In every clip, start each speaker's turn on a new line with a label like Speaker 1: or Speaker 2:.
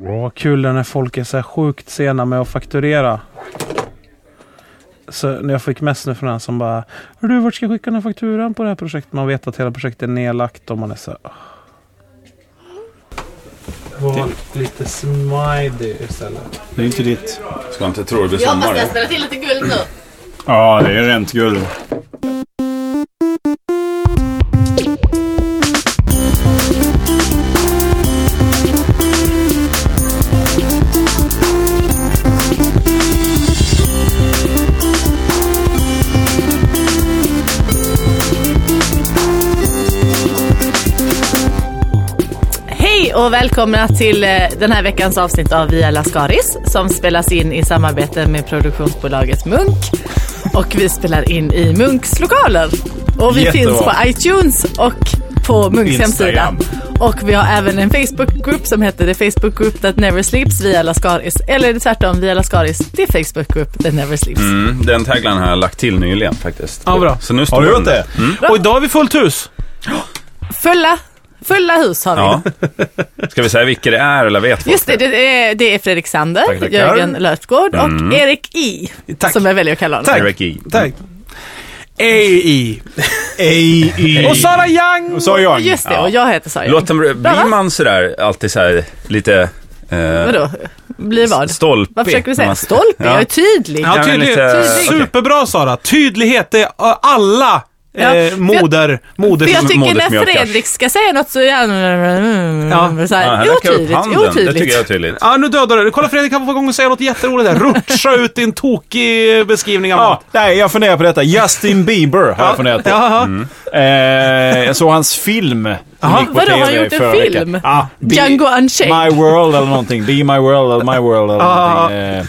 Speaker 1: Åh, kul när folk är så här sjukt sena med att fakturera. Så när jag fick mess nu från den som bara "Hör du vart ska jag skicka den här fakturan på det här projektet? Man vet att hela projektet är nedlagt och man är så här, "Åh." Var lite smidig istället.
Speaker 2: Det är inte ditt.
Speaker 3: Ska inte tro det blir
Speaker 4: Jag hoppas
Speaker 3: sommar.
Speaker 4: jag ställer till lite guld nu.
Speaker 2: Ja, det är rent guld.
Speaker 4: Hej och välkomna till eh, den här veckans avsnitt av Via Lascaris som spelas in i samarbete med produktionsbolaget Munk. Och vi spelar in i Munks lokaler. Och vi
Speaker 2: Jättebra.
Speaker 4: finns på iTunes och på Munks hemsida.
Speaker 2: Instagram.
Speaker 4: Och vi har även en Facebookgrupp som heter The Facebook Group That Never Sleeps Via Lascaris. Eller är det tvärtom, Via Lascaris, The Facebook Group That Never Sleeps.
Speaker 3: Mm, den tagline har jag lagt till nyligen faktiskt.
Speaker 1: Ja, bra.
Speaker 3: Så nu står
Speaker 2: Har du
Speaker 3: den
Speaker 2: gjort
Speaker 3: där.
Speaker 2: det? Mm.
Speaker 1: Och idag är vi fullt hus!
Speaker 4: Fulla, fulla hus har vi.
Speaker 3: Ja. Ska vi säga vilka det är eller vet folk
Speaker 4: Just det, det är, det är Fredrik Sander,
Speaker 3: Tack, tackar.
Speaker 4: Jörgen Lötgård och Erik I.
Speaker 1: Tack.
Speaker 4: Som jag väljer att kalla honom.
Speaker 1: Tack.
Speaker 3: Eric E.
Speaker 1: Tack. AI.
Speaker 2: Ej, ej.
Speaker 1: Och Sara Young!
Speaker 2: E. Och så jag.
Speaker 4: Just det,
Speaker 3: Ja.
Speaker 4: och jag heter Saja.
Speaker 3: Låt dem,
Speaker 4: va?
Speaker 3: blir man sådär alltid såhär lite... Eh,
Speaker 4: Vadå? Blir vad?
Speaker 3: Stolpig.
Speaker 4: Vad försöker du
Speaker 3: när
Speaker 4: säga?
Speaker 3: man-
Speaker 4: Stolpe? Jag är
Speaker 3: Ja.
Speaker 4: tydlig.
Speaker 1: Ja,
Speaker 3: men
Speaker 1: tydlig,
Speaker 3: lite-
Speaker 1: Superbra Sara! Tydlighet det är alla
Speaker 4: Ja,
Speaker 1: eh,
Speaker 4: jag-
Speaker 1: moder, moder
Speaker 4: För jag tycker
Speaker 3: modet
Speaker 4: när
Speaker 3: mjölkar.
Speaker 4: Fredrik ska säga något så är han Mm,
Speaker 1: Ja.
Speaker 4: så
Speaker 3: Ja, han
Speaker 4: här,
Speaker 3: räcker upp
Speaker 4: otydligt,
Speaker 3: handen. Det tycker jag är
Speaker 4: otydligt.
Speaker 3: tydligt.
Speaker 1: Ja, nu dödar du. Kolla Fredrik, han var på gång och säga något jätteroligt där. Rutscha ut din tokig beskrivning av
Speaker 2: Ja,
Speaker 1: något.
Speaker 2: nej, jag funderar på detta. Justin Bieber har jag funderat på. Mm.
Speaker 1: Jaha.
Speaker 2: Eh, jag såg hans film. som
Speaker 1: Jaha.
Speaker 2: gick på
Speaker 4: Vadå,
Speaker 2: TV
Speaker 4: har han gjort en
Speaker 2: förra veckan.
Speaker 4: film?
Speaker 2: Ja, Be-
Speaker 4: Django Unchained.
Speaker 2: My World eller någonting. Be My World eller My World eller
Speaker 1: Ja.
Speaker 2: någonting. Eh,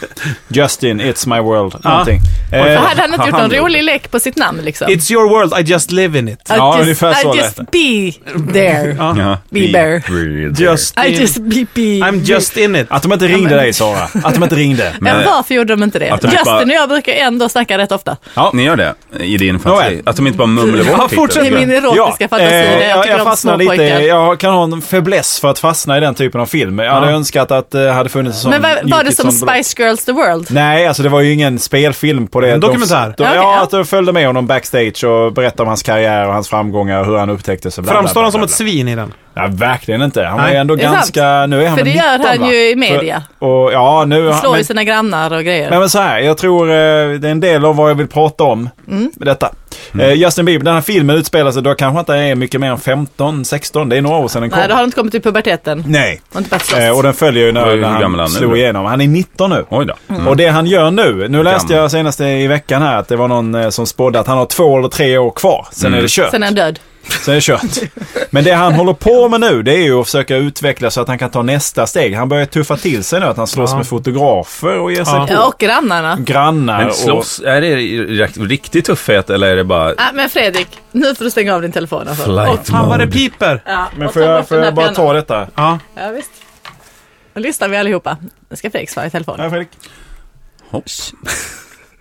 Speaker 2: Justin, It's My World. Någonting.
Speaker 4: Och
Speaker 2: Eh,
Speaker 4: hade han inte gjort
Speaker 2: han
Speaker 4: någon rolig lek på sitt namn liksom?
Speaker 1: It's your world, I just live in it.
Speaker 4: I
Speaker 2: Ja,
Speaker 4: just,
Speaker 2: ungefär så
Speaker 4: I
Speaker 2: lät
Speaker 4: just be there.
Speaker 3: Ja.
Speaker 4: Bieber.
Speaker 3: Bieber.
Speaker 1: Just
Speaker 4: I
Speaker 1: in,
Speaker 4: just be be.
Speaker 1: I'm just in it.
Speaker 2: Att de inte ringde dig Sara. Att de inte ringde.
Speaker 4: Men
Speaker 3: Nej.
Speaker 4: varför gjorde de inte det?
Speaker 3: Att de
Speaker 4: Justin
Speaker 3: bara-
Speaker 4: och jag brukar ändå snacka rätt ofta.
Speaker 3: Ni gör det i din fantasi?
Speaker 2: Nåväl.
Speaker 3: Att de inte bara mumlar
Speaker 1: Ja,
Speaker 3: bort titeln.
Speaker 1: fortsätt
Speaker 4: Det är min erotiska fantasi där
Speaker 2: eh,
Speaker 4: jag tycker om
Speaker 2: fastnar
Speaker 4: små
Speaker 2: lite.
Speaker 4: pojkar.
Speaker 2: Jag kan ha en fäbless för att fastna i den typen av film. Jag hade
Speaker 1: Ja.
Speaker 2: önskat att det hade funnits en sån
Speaker 4: Men var, var det som
Speaker 2: Jokic-sån-
Speaker 4: Spice Girls The World?
Speaker 2: Nej, alltså det var ju ingen spelfilm på det.
Speaker 1: En dokumentär.
Speaker 2: De, de,
Speaker 4: Ja, okej,
Speaker 2: ja,
Speaker 4: ja.
Speaker 2: att de följde med honom backstage och berättade om hans karriär och hans framgångar och hur han upptäcktes. och bla, bla,
Speaker 1: Framstår han
Speaker 2: bla,
Speaker 1: som
Speaker 2: bla,
Speaker 1: ett svin i den?
Speaker 2: bla. Ja, verkligen inte. Han var
Speaker 1: Nej.
Speaker 2: ju ändå
Speaker 4: Det är
Speaker 2: ganska... Nu är han
Speaker 4: För det
Speaker 2: väl
Speaker 4: gör
Speaker 2: 19,
Speaker 4: han
Speaker 2: va?
Speaker 4: ju i media.
Speaker 2: Så, och, ja, nu...
Speaker 4: Slår
Speaker 2: men,
Speaker 4: ju sina grannar och grejer.
Speaker 2: Nej men så här, jag tror eh, det är en del av vad jag vill prata om
Speaker 4: Mm.
Speaker 2: med detta.
Speaker 1: Mm.
Speaker 2: Eh, Justin Bieber, den här filmen utspelar sig då kanske inte är mycket mer än 15, 16, det är några år sedan den kom.
Speaker 4: Nej, då har de inte kommit till puberteten.
Speaker 2: Nej.
Speaker 4: Och inte börjat slåss.
Speaker 2: Eh, och den följer ju
Speaker 3: Vad
Speaker 2: när,
Speaker 3: är- hur
Speaker 2: när han,
Speaker 3: gammal är han nu
Speaker 2: slog
Speaker 3: då?
Speaker 2: igenom. Han är 19 nu.
Speaker 3: Oj då.
Speaker 4: Mm.
Speaker 2: Och det han gör nu, nu läste
Speaker 3: Gammal.
Speaker 2: jag senast i veckan här att det var någon eh, som spådde att han har två eller tre år kvar. Sen
Speaker 3: Mm.
Speaker 2: är det kört.
Speaker 4: Sen är han död.
Speaker 2: Sen är det kört. Men det han håller på med nu det är ju att försöka utveckla så att han kan ta nästa steg. Han börjar tuffa till sig nu att han slåss
Speaker 1: Ja.
Speaker 2: med fotografer och ger sig
Speaker 1: Ja.
Speaker 2: på
Speaker 4: Ja, och grannarna.
Speaker 2: grannar.
Speaker 3: Men slåss, är det rikt- riktigt tuffhet eller är det bara
Speaker 4: Ah, men Fredrik, nu får du stänga av din telefon. Alltså.
Speaker 3: flight
Speaker 1: Fan vad det
Speaker 3: mode?
Speaker 1: piper!
Speaker 4: Ja,
Speaker 2: Och, men
Speaker 4: och
Speaker 2: får
Speaker 4: ta
Speaker 2: jag,
Speaker 4: bort
Speaker 2: får
Speaker 4: den här
Speaker 2: jag bara
Speaker 4: pennan.
Speaker 2: ta detta?
Speaker 1: Ja.
Speaker 4: Ja, visst. Nu lyssnar vi allihopa. Nu ska Fredrik svara i telefon.
Speaker 2: Ja, Fredrik.
Speaker 3: Hopps.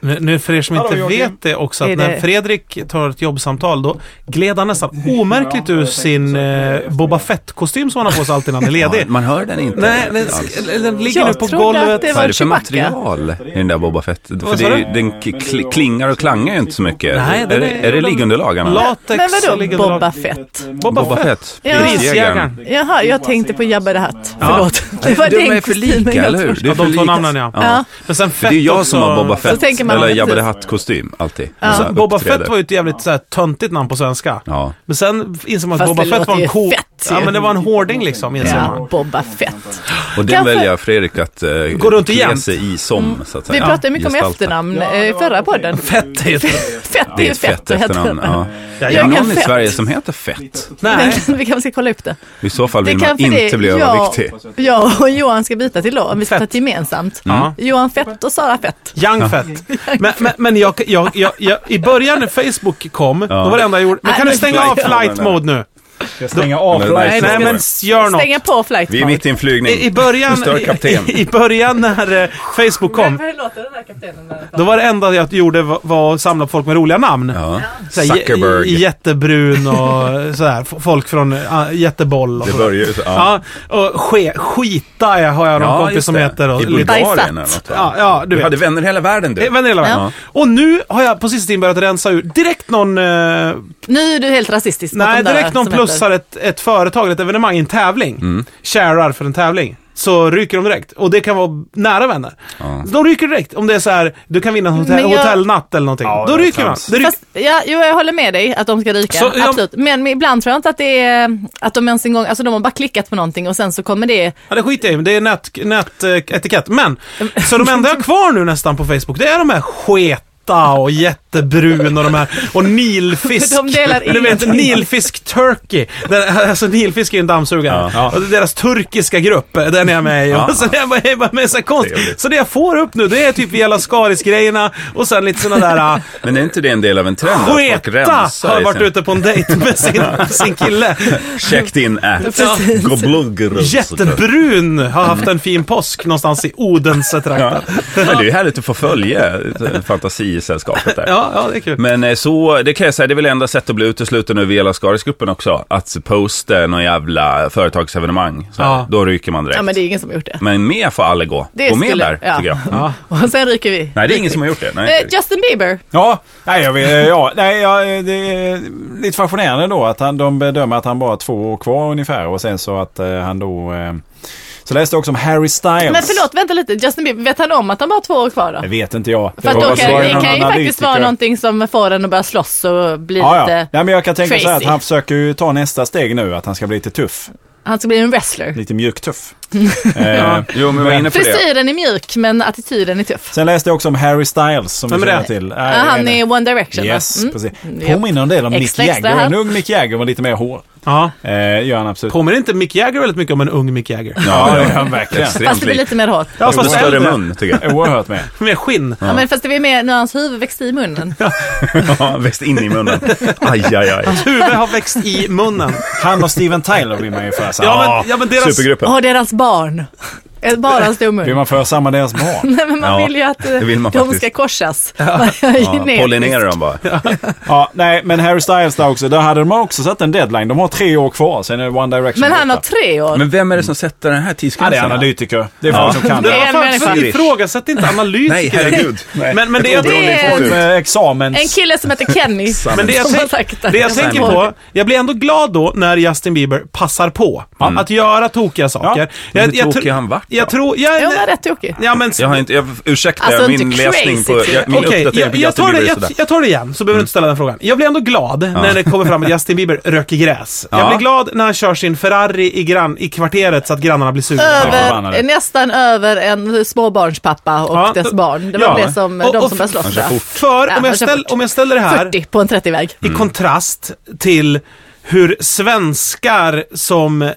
Speaker 1: Nu, nu för er som inte
Speaker 2: Hallå, Joakim.
Speaker 1: vet det också,
Speaker 4: Är
Speaker 1: att när
Speaker 4: det-
Speaker 1: Fredrik tar ett jobbsamtal då gled han nästan omärkligt
Speaker 2: Ja,
Speaker 1: ur
Speaker 2: jag
Speaker 1: sin
Speaker 2: tänkte så.
Speaker 1: eh, Boba Fett-kostym som han har på sig alltid när han är ledig.
Speaker 3: Ja, man hör den inte.
Speaker 1: Nej, den,
Speaker 3: alls.
Speaker 1: sk- den ligger
Speaker 4: Jag
Speaker 1: nu på
Speaker 4: trodde att
Speaker 1: golvet.
Speaker 4: det
Speaker 3: Vad är det för
Speaker 4: Chewbacca.
Speaker 3: material i den där Boba Fett? För
Speaker 1: Vad
Speaker 3: det,
Speaker 1: sa
Speaker 3: är
Speaker 1: du?
Speaker 3: ju- den k- kli- klingar och klangar ju inte så mycket.
Speaker 1: Nej,
Speaker 3: är,
Speaker 1: den
Speaker 3: det,
Speaker 1: är-
Speaker 3: är det liggunderlagarna?
Speaker 1: Latex
Speaker 4: Men vadå
Speaker 1: ligger
Speaker 4: Boba
Speaker 1: Boba,
Speaker 4: Fett?
Speaker 1: Boba,
Speaker 3: Boba
Speaker 1: Fett.
Speaker 3: Fett,
Speaker 4: Ja.
Speaker 3: prisjägaren.
Speaker 1: Prisjägaren.
Speaker 4: Jaha, jag tänkte på Jabba the Hutt.
Speaker 1: Ja.
Speaker 4: Förlåt. Det var
Speaker 3: De
Speaker 4: den
Speaker 3: är för
Speaker 4: kostymen
Speaker 3: lika,
Speaker 4: jag
Speaker 3: eller hur?
Speaker 4: trodde.
Speaker 3: Det är
Speaker 1: Ja,
Speaker 3: för
Speaker 1: de två
Speaker 3: lika.
Speaker 1: namnen ja.
Speaker 4: Ja.
Speaker 1: Men sen Fett
Speaker 3: För det är ju jag som
Speaker 1: också-
Speaker 3: har Boba Fett,
Speaker 4: tänker man,
Speaker 3: eller
Speaker 4: ja,
Speaker 3: Jabba the
Speaker 4: precis.
Speaker 3: Hatt-kostym alltid.
Speaker 4: Ja.
Speaker 3: Så här
Speaker 1: Boba
Speaker 3: uppträder.
Speaker 1: Fett var ju ett jävligt så här, töntigt namn på svenska.
Speaker 3: Ja.
Speaker 1: Men sen inser man att
Speaker 4: Fast
Speaker 1: Boba
Speaker 4: det
Speaker 1: Fett var
Speaker 4: låter ju
Speaker 1: en ko...
Speaker 4: fett ju.
Speaker 1: ja, men det var en hårding liksom, inser
Speaker 4: Ja,
Speaker 1: man.
Speaker 4: Boba Fett.
Speaker 3: Och den
Speaker 4: Kanske-
Speaker 3: väljer Fredrik att uh,
Speaker 1: Gå runt igen.
Speaker 3: sig i som, så att
Speaker 4: Vi
Speaker 3: säga.
Speaker 4: pratade mycket om
Speaker 3: Gestalta.
Speaker 4: efternamn eh, i förra podden.
Speaker 1: Fett är ju ett...
Speaker 4: Fett är
Speaker 3: Det är
Speaker 4: ju
Speaker 3: ett fett
Speaker 4: fett. och heter
Speaker 3: efternamn.
Speaker 4: det.
Speaker 3: Ja.
Speaker 1: Ja,
Speaker 3: Är det
Speaker 4: jag
Speaker 1: ja.
Speaker 4: kan
Speaker 3: någon i
Speaker 4: fett.
Speaker 3: Sverige som heter Fett?
Speaker 1: Nej.
Speaker 4: Men Vi kanske ska kolla upp det.
Speaker 3: I så fall
Speaker 4: Det
Speaker 3: vill man
Speaker 4: kanske det är
Speaker 3: inte bli överviktig.
Speaker 4: Jag och Johan ska byta till då, om vi ska ta
Speaker 1: Fett.
Speaker 4: ett gemensamt.
Speaker 1: Ja.
Speaker 4: Johan Fett och Sara Fett.
Speaker 1: Young Fett. Men, men, men jag, jag, jag, jag, i början när Facebook kom,
Speaker 3: Ja.
Speaker 1: då var det enda jag gjorde... Men
Speaker 4: Nej,
Speaker 1: kan du
Speaker 4: men-
Speaker 1: stänga av
Speaker 3: Flight-
Speaker 1: flight mode nu?
Speaker 2: Jag stänger av
Speaker 3: Nej,
Speaker 2: flight.
Speaker 3: nej,
Speaker 1: Nej, nej, men gör något.
Speaker 4: Stänga på flight
Speaker 3: Vi är mitt i en flygning.
Speaker 1: I, i början,
Speaker 3: Stör kapten.
Speaker 1: i, i början när eh, Facebook kom,
Speaker 4: Hur låter den här kaptenen? när den
Speaker 1: då
Speaker 4: pratar?
Speaker 1: var det enda jag gjorde var, var att samla på folk med roliga namn.
Speaker 3: Ja.
Speaker 1: Så här, j-
Speaker 3: Zuckerberg.
Speaker 1: j- Jättebrun och sådär. F- Folk från eh, Jätteboll och
Speaker 3: det
Speaker 1: sådär.
Speaker 3: börjar ju så. Ja.
Speaker 1: Ja, och ske, skita jag har jag någon kompis
Speaker 3: just
Speaker 1: som
Speaker 3: det.
Speaker 1: heter. Och
Speaker 3: I
Speaker 1: lite,
Speaker 3: Bulgarien
Speaker 4: Bajsat.
Speaker 3: eller något. va?
Speaker 1: ja, ja, du
Speaker 3: Du
Speaker 1: vet.
Speaker 3: hade vänner i hela världen du.
Speaker 1: Eh, vänner hela världen.
Speaker 4: Ja.
Speaker 1: Och nu har jag på sista tiden börjat rensa ut direkt någon... Eh,
Speaker 4: Nu är du helt rasistisk. mot
Speaker 1: nej,
Speaker 4: de där
Speaker 1: direkt någon
Speaker 4: som
Speaker 1: plussar ett, ett företag, eller ett evenemang i en tävling.
Speaker 3: Mm.
Speaker 1: Sharar för en tävling. Så ryker de direkt. Och det kan vara nära vänner.
Speaker 3: Ja.
Speaker 1: Så de ryker direkt. Om det är så här, du kan vinna en hotell,
Speaker 4: Mm, Men jag-
Speaker 1: hotellnatt eller någonting.
Speaker 2: Ja,
Speaker 1: då
Speaker 2: det är
Speaker 1: ryker man.
Speaker 2: trams.
Speaker 1: Det ryker.
Speaker 4: Fast, ja, jo, jag håller med dig att de ska ryka.
Speaker 1: Så, ja.
Speaker 4: Absolut. Men ibland tror jag inte att det är att de ens en gång, alltså de har bara klickat på någonting och sen så kommer det.
Speaker 1: Ja, det skiter jag i. Det är nätetikett. Nät, eh, etikett. Men, så de enda jag har kvar nu nästan på Facebook, det är de här sketa och jättebrun och de här. Och nilfisk.
Speaker 4: De delar
Speaker 1: du vet,
Speaker 4: ingenting.
Speaker 1: nilfisk turkey. Den, alltså nilfisk är ju en dammsugare.
Speaker 3: Ja.
Speaker 1: Och deras turkiska grupp, eh, den är jag med i.
Speaker 3: Ja.
Speaker 1: Och sen är jag bara, jag är bara med så här konstigt.
Speaker 3: Trevligt.
Speaker 1: Så det jag får upp nu, det är typ Via Lascaris-grejerna och sen lite sådana där eh,
Speaker 3: Men är inte det en del av en trend? att folk
Speaker 1: Sketa
Speaker 3: rensar
Speaker 1: har
Speaker 3: i
Speaker 1: varit
Speaker 3: sin-
Speaker 1: ute på en dejt med sin, sin kille.
Speaker 3: Checked in at
Speaker 4: Precis.
Speaker 3: Gobloggerus.
Speaker 1: Jättebrun har haft en fin påsk någonstans i Odense-trakten.
Speaker 3: Ja. Men det är ju härligt att få följa fantasisällskapet där.
Speaker 1: Ja, ja, det är kul.
Speaker 3: Men eh, så, det kan jag säga, det är väl enda sättet att bli utesluten ur Vela Skaris-gruppen också. Att posta någon jävla företagsevenemang. Så,
Speaker 1: Ja.
Speaker 3: Då ryker man direkt.
Speaker 4: Ja, men
Speaker 3: men,
Speaker 4: det är ingen som har gjort det.
Speaker 3: med får alla gå.
Speaker 4: Det
Speaker 3: gå med
Speaker 4: skulle-
Speaker 3: där,
Speaker 4: ja.
Speaker 3: tycker jag.
Speaker 4: Och sen ryker vi.
Speaker 3: Nej, det är ingen som har gjort det.
Speaker 4: Eh,
Speaker 3: Nej.
Speaker 4: Justin Bieber.
Speaker 2: Ja, nej, jag, vill, ja, nej jag, det är lite fascinerande då att han, de bedömer att han bara har två år kvar ungefär och sen så att eh, han då... Eh, så läste jag också om Harry Styles.
Speaker 4: Men förlåt, vänta lite. Justin Bieber, vet han om att han bara har två år kvar då?
Speaker 2: Det vet inte jag.
Speaker 4: För att
Speaker 3: var
Speaker 4: då
Speaker 3: vad
Speaker 4: kan,
Speaker 3: svarar
Speaker 4: det
Speaker 3: någon
Speaker 4: kan ju faktiskt vara
Speaker 2: någonting.
Speaker 4: någonting som får en att börja slåss och bli
Speaker 2: Ja, ja.
Speaker 4: lite...
Speaker 2: Nej, men jag kan tänka så här att
Speaker 4: crazy.
Speaker 2: han försöker ju ta nästa steg nu, att han ska bli lite tuff.
Speaker 4: Han ska bli en wrestler.
Speaker 2: Lite mjuk-tuff. eh,
Speaker 3: Jo, men vi var inne på det.
Speaker 4: Frisyren är mjuk men attityden är tuff.
Speaker 2: sen läste jag också om Harry Styles som vi
Speaker 1: Vem är
Speaker 2: känner
Speaker 1: det?
Speaker 2: till. Eh,
Speaker 4: Ah, han är One Direction va?
Speaker 2: Yes,
Speaker 4: Mm.
Speaker 2: precis.
Speaker 4: Japp.
Speaker 2: Påminner en del om Mick
Speaker 4: Extra, extra
Speaker 2: Jagger. En
Speaker 4: här.
Speaker 2: ung Mick Jagger med lite mer hår.
Speaker 1: Ja.
Speaker 2: Eh, gör han absolut.
Speaker 1: Påminner inte Mick Jagger väldigt mycket om en ung Mick Jagger?
Speaker 3: Ja,
Speaker 2: Ja,
Speaker 3: ja.
Speaker 2: ja, verkligen.
Speaker 4: Fast
Speaker 3: Extremt
Speaker 4: det blir
Speaker 3: likt.
Speaker 4: lite mer hårt.
Speaker 1: Ja,
Speaker 3: Och
Speaker 1: fast
Speaker 3: större
Speaker 1: äldre.
Speaker 3: mun, tycker jag.
Speaker 2: Oerhört med.
Speaker 1: Med skinn.
Speaker 4: Ja. men fast det är mer när hans huvud växte i munnen.
Speaker 3: Ja, växt in i munnen. Aj, aj, aj.
Speaker 1: Huvud har växt i munnen.
Speaker 2: Han och Steven Tyler blir man ju för samma.
Speaker 1: Ja, men, ja, men deras...
Speaker 3: Supergruppen.
Speaker 4: Och deras barn. Ett Bara hans stor mun.
Speaker 2: Blir man för samma deras barn?
Speaker 4: Nej men man
Speaker 3: Ja,
Speaker 4: vill ju att eh,
Speaker 3: det vill man
Speaker 4: de
Speaker 3: faktiskt.
Speaker 4: ska korsas.
Speaker 3: Ja,
Speaker 4: Genetiskt.
Speaker 3: pollinera dem bara.
Speaker 2: ja, nej, men Harry Styles där också. Där hade de också satt en deadline. De har tre år kvar, sen är det One Direction
Speaker 4: Men han har
Speaker 2: borta.
Speaker 4: tre år.
Speaker 3: Men vem är det som sätter den här
Speaker 2: Ja, det är
Speaker 3: tidsgränsen?
Speaker 2: analytiker. Det är folk
Speaker 3: Ja.
Speaker 2: som kan
Speaker 1: Det
Speaker 2: det.
Speaker 4: är
Speaker 1: var
Speaker 4: en
Speaker 1: fan,
Speaker 4: människa.
Speaker 1: så ifrågasätt inte analytiker.
Speaker 3: Nej, herregud. Nej.
Speaker 1: Men, men det
Speaker 3: Ett
Speaker 1: jag,
Speaker 4: Det är-
Speaker 2: Folk med examens...
Speaker 4: En kille som heter Kenny.
Speaker 1: men det jag,
Speaker 4: som har
Speaker 1: tänk,
Speaker 4: sagt att
Speaker 1: det jag
Speaker 4: han
Speaker 1: tänker
Speaker 4: får-
Speaker 1: på, jag blir ändå glad då när Justin Bieber passar på att göra tokiga saker.
Speaker 3: Men
Speaker 1: jag,
Speaker 3: hur tokig
Speaker 1: tro-
Speaker 3: han vart då?
Speaker 1: Jag tror... Jag,
Speaker 4: Ja, han var rätt tokig.
Speaker 1: ja, men,
Speaker 3: Jag har inte, jag, ursäkta
Speaker 4: Alltså,
Speaker 3: min
Speaker 4: inte
Speaker 3: läsning på,
Speaker 4: crazy.
Speaker 3: jag, min
Speaker 1: Okej,
Speaker 3: uppdatering
Speaker 1: jag,
Speaker 3: på
Speaker 1: jag,
Speaker 3: Justin
Speaker 1: tar det,
Speaker 3: Bieber är
Speaker 1: jag,
Speaker 3: sådär.
Speaker 1: jag tar det igen, så behöver du inte ställa den frågan. Jag blir ändå glad när det kommer fram att Justin Bieber röker gräs. Jag
Speaker 3: Ja.
Speaker 1: blir glad när han kör sin Ferrari i, grann, i kvarteret så att grannarna blir sugna.
Speaker 4: över,
Speaker 2: förbannade.
Speaker 4: eh, nästan över en småbarnspappa och
Speaker 1: Ja,
Speaker 4: dess
Speaker 1: då-
Speaker 4: barn. Det var
Speaker 1: ja.
Speaker 4: det som
Speaker 1: Och-
Speaker 4: de
Speaker 1: och
Speaker 4: som började
Speaker 1: f-
Speaker 4: slåss. där.
Speaker 1: För
Speaker 4: Ja,
Speaker 1: om,
Speaker 4: han
Speaker 1: jag
Speaker 4: kör
Speaker 1: ställ,
Speaker 4: fort.
Speaker 1: om jag ställer det här
Speaker 4: 40 på en 30-väg.
Speaker 3: Mm.
Speaker 1: i kontrast till hur svenskar som, eh,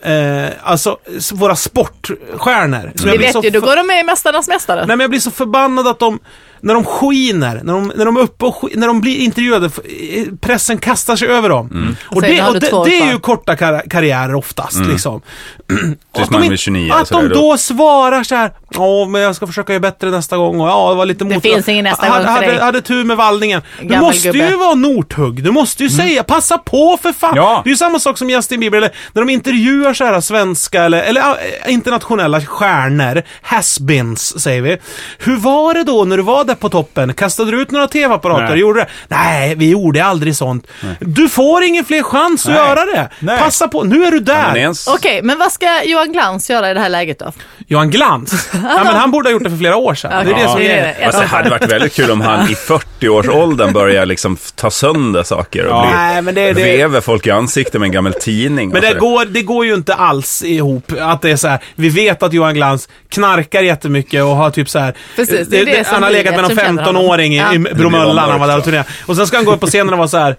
Speaker 1: alltså s- våra
Speaker 3: Mm.
Speaker 1: sportstjärnor. Som
Speaker 4: Vi
Speaker 1: jag blir så
Speaker 4: vet ju, då
Speaker 1: för-
Speaker 4: går de med i Mästarnas Mästare.
Speaker 1: Nej men jag blir så förbannad att de, när de skiner, när de, när de är uppe och skiner, när de blir intervjuade, f- eh, pressen kastar sig över dem.
Speaker 3: Mm.
Speaker 1: Och,
Speaker 4: Säger, "Nu
Speaker 1: det,
Speaker 4: har
Speaker 1: och
Speaker 4: du
Speaker 1: det,
Speaker 4: två
Speaker 1: det är
Speaker 4: kvar."
Speaker 1: ju korta kar- karriärer oftast liksom. Och
Speaker 3: Tills
Speaker 1: att de
Speaker 3: man
Speaker 1: inte-
Speaker 3: blir 29.
Speaker 1: Att de
Speaker 3: sådär då.
Speaker 1: då svarar så här. Ja, men jag ska försöka göra bättre nästa gång. Och ja, det var lite mot...
Speaker 4: finns ingen nästa
Speaker 1: hade,
Speaker 4: gång för
Speaker 1: hade,
Speaker 4: dig.
Speaker 1: hade tur med vallningen. Du
Speaker 4: Gammal
Speaker 1: måste ju
Speaker 4: gubbe.
Speaker 1: vara Northug. Du måste ju säga passa på för fan.
Speaker 2: Mm. Ja.
Speaker 1: Det är ju samma sak som Justin Bieber. Eller när de intervjuar så här svenska eller, eller äh, internationella stjärnor. Has-beens säger vi. Hur var det då när du var där på toppen? Kastade du ut några tv-apparater?
Speaker 2: Nej.
Speaker 1: Gjorde du det? Nej, vi gjorde aldrig sånt. Du får ingen fler chans att
Speaker 2: Nej.
Speaker 1: göra det.
Speaker 2: Nej.
Speaker 1: Passa på. Nu är du där.
Speaker 3: Men ens,
Speaker 4: Okej, men vad ska Johan Glans göra i det här läget då?
Speaker 1: Johan Glans? ja, men han borde ha gjort det för flera år sedan. Det är det
Speaker 4: Ja.
Speaker 1: som
Speaker 4: Det är
Speaker 1: är...
Speaker 4: det.
Speaker 3: alltså, det hade varit väldigt kul om han i 40-årsåldern börjar liksom ta sönder saker och
Speaker 2: Ja.
Speaker 3: blir,
Speaker 1: Nej, men det, det,
Speaker 3: vever folk i ansiktet med en gammal tidning.
Speaker 1: men
Speaker 3: och
Speaker 1: det,
Speaker 3: sådär.
Speaker 1: går, det går ju inte alls ihop att det är så här. Vi vet att Johan Glans knarkar jättemycket och har typ så här.
Speaker 4: Precis, det är det som
Speaker 1: han har
Speaker 4: vi
Speaker 1: legat
Speaker 4: vet
Speaker 1: med någon
Speaker 4: som känner
Speaker 1: 15-åring i,
Speaker 4: honom.
Speaker 1: i
Speaker 4: Ja.
Speaker 1: Bromölla när han var där och
Speaker 3: också.
Speaker 1: turnerade. Och sen ska han gå upp på scenen och vara så här.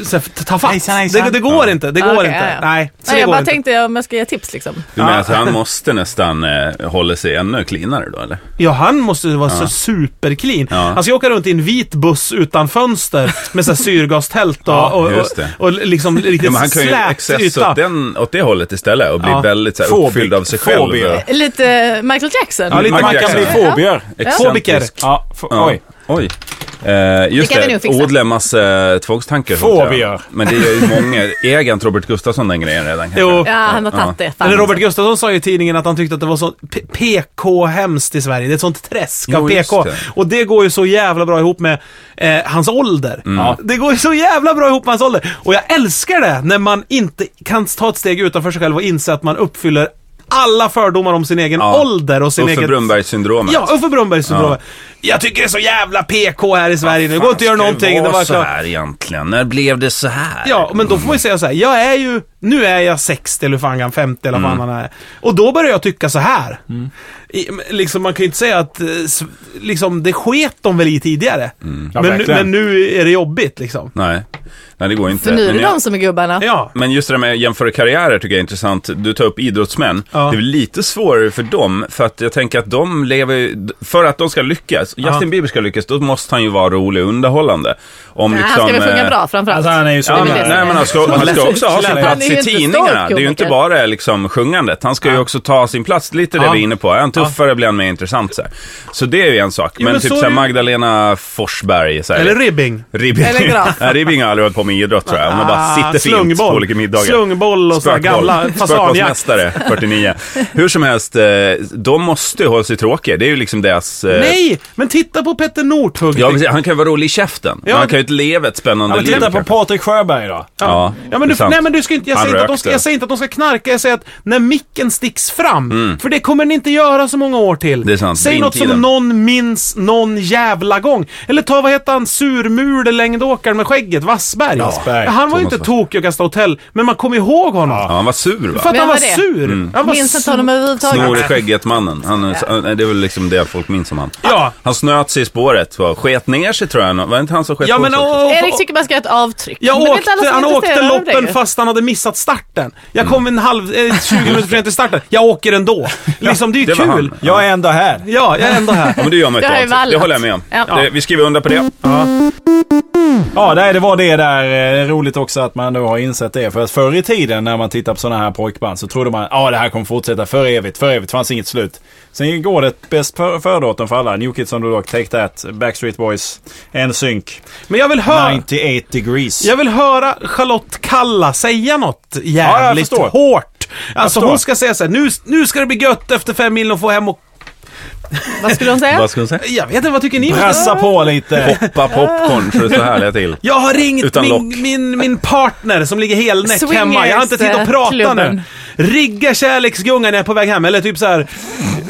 Speaker 1: eh, Så här ta fatt.
Speaker 2: Hejsan, hejsan.
Speaker 1: Det, det går inte. Det går
Speaker 4: Okej,
Speaker 1: inte.
Speaker 4: ja, ja.
Speaker 1: Nej, så
Speaker 4: Nej,
Speaker 1: det
Speaker 4: jag
Speaker 1: går
Speaker 4: bara
Speaker 1: inte.
Speaker 4: tänkte om jag ska ge tips liksom.
Speaker 3: Du menar med att han måste nästan eh, hålla sig ännu cleanare då, eller?
Speaker 1: Ja, han måste vara så superclean.
Speaker 3: Ja.
Speaker 1: Han ska åka runt i en vit buss utan fönster med så här syrgastält och,
Speaker 3: Ja,
Speaker 1: och, och,
Speaker 3: just det.
Speaker 1: och liksom
Speaker 3: Ja,
Speaker 1: riktigt
Speaker 3: men han kan ju
Speaker 1: slät
Speaker 3: excess åt,
Speaker 1: yta.
Speaker 3: den, åt det hållet istället och bli
Speaker 1: Ja.
Speaker 3: väldigt så här,
Speaker 2: Fobi-
Speaker 3: uppfylld av sig
Speaker 2: fobi.
Speaker 3: själv. och-
Speaker 4: Lite Michael Jackson.
Speaker 1: Ja, lite
Speaker 3: Michael
Speaker 2: Man kan
Speaker 3: Jackson.
Speaker 2: bli fobier.
Speaker 1: Fobiker.
Speaker 2: Ja, fo-
Speaker 3: Ja.
Speaker 2: oj.
Speaker 3: Oj. Eh, just
Speaker 4: Det kan vi
Speaker 3: det,
Speaker 4: nog fixa.
Speaker 3: Odlemmas eh, tvångstankar. sånt,
Speaker 2: Fobier.
Speaker 3: ja. Men det är ju många. Äger inte Robert Gustafsson den grejen redan? kanske?
Speaker 1: Jo.
Speaker 4: Ja, han har tagit det. Fan.
Speaker 1: Eller Robert Gustafsson sa ju i tidningen att han tyckte att det var så p- PK hemskt i Sverige. Det är ett sånt träsk av
Speaker 3: Jo, just
Speaker 1: PK.
Speaker 3: det.
Speaker 1: Och det går ju så jävla bra ihop med eh, hans ålder.
Speaker 3: Mm.
Speaker 1: Ja. Det går ju så jävla bra ihop med hans ålder. Och jag älskar det när man inte kan ta ett steg utanför sig själv och inse att man uppfyller alla fördomar om sin egen
Speaker 3: Ja.
Speaker 1: ålder och sin
Speaker 3: Uffe
Speaker 1: egen...
Speaker 3: Brunnberg-syndromet.
Speaker 1: Ja, Uffe Brunnberg syndromet. Jag tycker det är så jävla PK här i Sverige nu. Det går inte att göra någonting.
Speaker 3: Det
Speaker 1: Det var
Speaker 3: så
Speaker 1: klart.
Speaker 3: här egentligen. När blev det så här?
Speaker 1: Ja, men då får man ju säga så här. Jag är ju, nu är jag 60 eller hur fan han 50 eller vad
Speaker 3: Mm.
Speaker 1: fan han är. Och då börjar jag tycka så här. I, men liksom, man kan ju inte säga att, eh, s- liksom, det sket de väl i tidigare.
Speaker 3: Mm.
Speaker 2: Ja,
Speaker 1: men, nu,
Speaker 2: verkligen.
Speaker 1: men nu är det jobbigt liksom.
Speaker 3: Nej. Nej, det går inte.
Speaker 4: För nu är
Speaker 3: Men
Speaker 4: det
Speaker 3: jag-
Speaker 4: de som är gubbarna.
Speaker 1: Ja.
Speaker 3: Men just det där med att jämföra karriärer tycker jag är intressant. Du tar upp idrottsmän.
Speaker 1: Ja.
Speaker 3: Det är väl lite svårare för dem, för att jag tänker att de lever ju- För att de ska lyckas, Justin Bieber ska lyckas, då måste han ju vara rolig och underhållande. Om liksom, eh,
Speaker 4: Nej, han
Speaker 1: liksom,
Speaker 4: ska väl
Speaker 1: eh,
Speaker 4: sjunga bra framförallt.
Speaker 2: Alltså, han är ju så-
Speaker 3: Ja,
Speaker 4: Det
Speaker 3: men,
Speaker 4: väl det som
Speaker 3: nej,
Speaker 4: är-
Speaker 3: men han ska, han ska också ha sin
Speaker 4: Han är
Speaker 3: plats
Speaker 4: ju
Speaker 3: i
Speaker 4: inte
Speaker 3: tidningarna.
Speaker 4: stor
Speaker 3: Det är ju inte
Speaker 4: komiker.
Speaker 3: bara liksom sjungandet. Han ska ju också ta sin plats. Lite det
Speaker 1: Ja.
Speaker 3: vi är inne på. Är han tuffare blir han mer intressant. Så, här. så det är ju en sak. Men,
Speaker 1: men så
Speaker 3: typ så här,
Speaker 1: är det-
Speaker 3: Magdalena Forsberg. Så här,
Speaker 1: Eller ribbing. Ah,
Speaker 3: Ribbing.
Speaker 4: Eller Graf.
Speaker 3: Nej, Ribbing har aldrig varit på med idrott tror jag. Hon har bara sitter fint på olika middagar.
Speaker 1: Slungboll och sådana
Speaker 3: Spökboll.
Speaker 1: gamla fasanjakt.
Speaker 3: Spökbollsmästare, 49. Hur som helst, eh, de måste ju hålla sig tråkiga. Det är ju liksom deras... eh,
Speaker 1: Nej, men titta på Petter Northug.
Speaker 3: Ja, precis. han kan ju vara rolig i käften. men
Speaker 1: Ja.
Speaker 3: han kan ju inte leva ett spännande
Speaker 2: Ja, men
Speaker 3: liv.
Speaker 2: titta på
Speaker 3: kanske.
Speaker 2: Patrik Sjöberg då.
Speaker 3: Ja,
Speaker 1: Ja, men
Speaker 3: det är
Speaker 1: du,
Speaker 3: sant.
Speaker 1: nej, men du ska inte, jag,
Speaker 3: Han
Speaker 1: säger inte att de ska,
Speaker 3: rökte.
Speaker 1: jag säger inte att de ska knarka, jag säger att när micken sticks fram. För det kommer ni inte göra så många år till.
Speaker 3: Mm. Det är sant,
Speaker 1: Säg något
Speaker 3: vindtiden.
Speaker 1: som någon minns någon jävla gång. Eller ta, vad heter han, surmulelängdåkaren med skägget, Wassberg.
Speaker 2: Wassberg.
Speaker 1: Ja, han var ju
Speaker 3: Thomas
Speaker 1: inte tokig och kastade hotell, men man kommer ihåg honom.
Speaker 3: Ja, han var sur va?
Speaker 1: För att
Speaker 4: Vem
Speaker 1: han var
Speaker 4: var det?
Speaker 1: sur.
Speaker 3: Mm.
Speaker 1: Han var
Speaker 4: Minns inte
Speaker 1: sur.
Speaker 4: honom överhuvudtaget.
Speaker 3: Snor i skägget-mannen. Han, är- han- Det är väl liksom det folk minns om han.
Speaker 1: Ja.
Speaker 3: Han snöt sig i spåret. Va? Sket ner sig tror jag. Var det inte han som sket
Speaker 1: Ja,
Speaker 3: på
Speaker 1: men
Speaker 3: sig? också?
Speaker 1: åh,
Speaker 4: Erik tycker man ska göra ett avtryck.
Speaker 1: Jag
Speaker 4: Men det är inte
Speaker 1: åkte,
Speaker 4: alla som är
Speaker 1: han åkte
Speaker 4: intresserade av det
Speaker 1: loppen
Speaker 4: ju.
Speaker 1: fast han hade missat starten. Jag kom
Speaker 3: Mm.
Speaker 1: en halv, eh, 20 minuter för sent till starten. Jag åker ändå. Liksom, det är ju
Speaker 3: det var
Speaker 1: kul.
Speaker 3: han.
Speaker 2: Jag är ändå här.
Speaker 1: Ja, jag är ändå här.
Speaker 3: Ja, men det gör man
Speaker 4: Det har
Speaker 3: ju
Speaker 4: ju
Speaker 3: inte. alltid. Det
Speaker 4: vallat.
Speaker 3: håller jag med om.
Speaker 4: Ja.
Speaker 3: Det, vi skriver under på det.
Speaker 2: Ja, nej, det var det där. Eh, Det är roligt också att man då har insett det. För att förr i tiden när man tittar på sådana här pojkband så trodde man att ah, det här kommer fortsätta för evigt, för evigt. Det fanns inget slut. Sen går det bäst för- före-datum för alla. New Kids on the Block, Take That, Backstreet Boys, NSYNC,
Speaker 1: Men jag vill höra...
Speaker 2: 98 Degrees.
Speaker 1: Jag vill höra Charlotte Kalla säga något
Speaker 2: Ja, jag
Speaker 1: jävligt
Speaker 2: förstår.
Speaker 1: hårt. Alltså
Speaker 2: förstår.
Speaker 1: hon ska säga så här, nu, nu ska det bli gött efter fem mil och få hem och...
Speaker 4: Vad skulle hon säga?
Speaker 3: Vad ska hon säga?
Speaker 1: Jag vet inte, vad tycker ni?
Speaker 2: Pressa på lite.
Speaker 3: Poppa popcorn så det står härliga till.
Speaker 1: Jag har ringt
Speaker 3: Utan lock.
Speaker 1: min, min, min partner som ligger helnäck
Speaker 4: Swingers,
Speaker 1: hemma. Jag har inte tid att
Speaker 4: eh,
Speaker 1: prata
Speaker 4: klubben.
Speaker 1: nu. Rigga kärleksgungan när jag är på väg hem. Eller typ så här.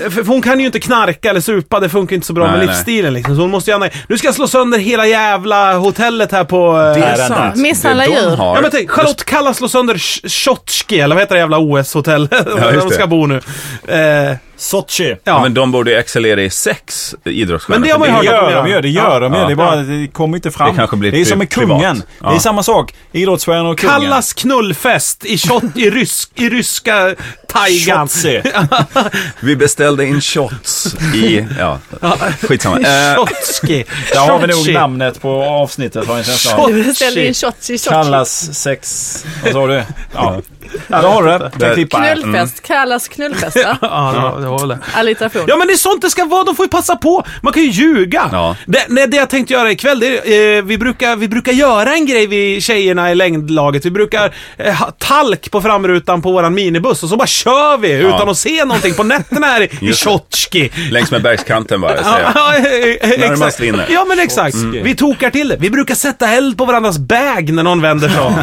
Speaker 1: För för hon kan ju inte knarka eller supa. Det funkar inte så bra
Speaker 3: Nej,
Speaker 1: med
Speaker 3: nej.
Speaker 1: livsstilen liksom. Så hon måste gärna... Nu ska jag slå sönder hela jävla hotellet här på... eh,
Speaker 3: Det är
Speaker 2: den
Speaker 3: sant.
Speaker 4: där. Misshandla
Speaker 3: Det de
Speaker 4: djur.
Speaker 3: har-
Speaker 1: Ja men tänk, Charlotte Kalla slår sönder Shotski, eller vad heter det jävla OS-hotell där
Speaker 3: just
Speaker 1: de ska
Speaker 3: det.
Speaker 1: bo nu. Eh, ja.
Speaker 2: Sochi.
Speaker 3: Ja, men de borde ju excellera i sex idrottsstjärnor.
Speaker 1: Men det har man ju
Speaker 2: Det
Speaker 1: hört.
Speaker 2: gör de ju, det gör de ju.
Speaker 3: Ja.
Speaker 2: Det, är bara, det kommer inte fram.
Speaker 3: Det kanske blir
Speaker 2: är som med
Speaker 3: pri- privat.
Speaker 2: kungen. Det är
Speaker 3: Ja.
Speaker 2: samma sak. Idrottsstjärnor och kungen.
Speaker 1: Kallas knullfest i, shot, i, rysk, i ryska taigan.
Speaker 2: Shotzi.
Speaker 3: Vi beställde in shots i... Ja, skitsamma. Eh,
Speaker 1: Shotski.
Speaker 2: Där har vi nog namnet på avsnittet har jag en känsla av.
Speaker 4: Du ställde in
Speaker 1: Shotski.
Speaker 4: shots i shots.
Speaker 2: Kallas sex... Vad sa du? Ja. ja, då har du Mm. det.
Speaker 3: Där.
Speaker 2: Jag klippar här.
Speaker 4: Knullfest. Kallas knullfest va?
Speaker 1: Ja, det var- det var väl det.
Speaker 4: Alliteration.
Speaker 1: Ja men det är sånt det ska vara, de får ju passa på. Man kan ju ljuga.
Speaker 3: Ja.
Speaker 1: Det, nej, det jag tänkte göra ikväll, det är, eh, vi, brukar, vi brukar göra en grej vi tjejerna i längdlaget. Vi brukar eh, ha talk på framrutan på våran minibuss och så bara kör vi utan att se någonting på nätterna här i- i
Speaker 3: Just det.
Speaker 1: Tjotjki.
Speaker 3: Längs med bergskanten bara, säger jag.
Speaker 1: Ja, eh, eh,
Speaker 3: Närmast
Speaker 1: exakt.
Speaker 3: vinner. Mm.
Speaker 1: Ja men exakt. Vi tokar till det. Vi brukar sätta eld på varandras bag när någon vänder sig om.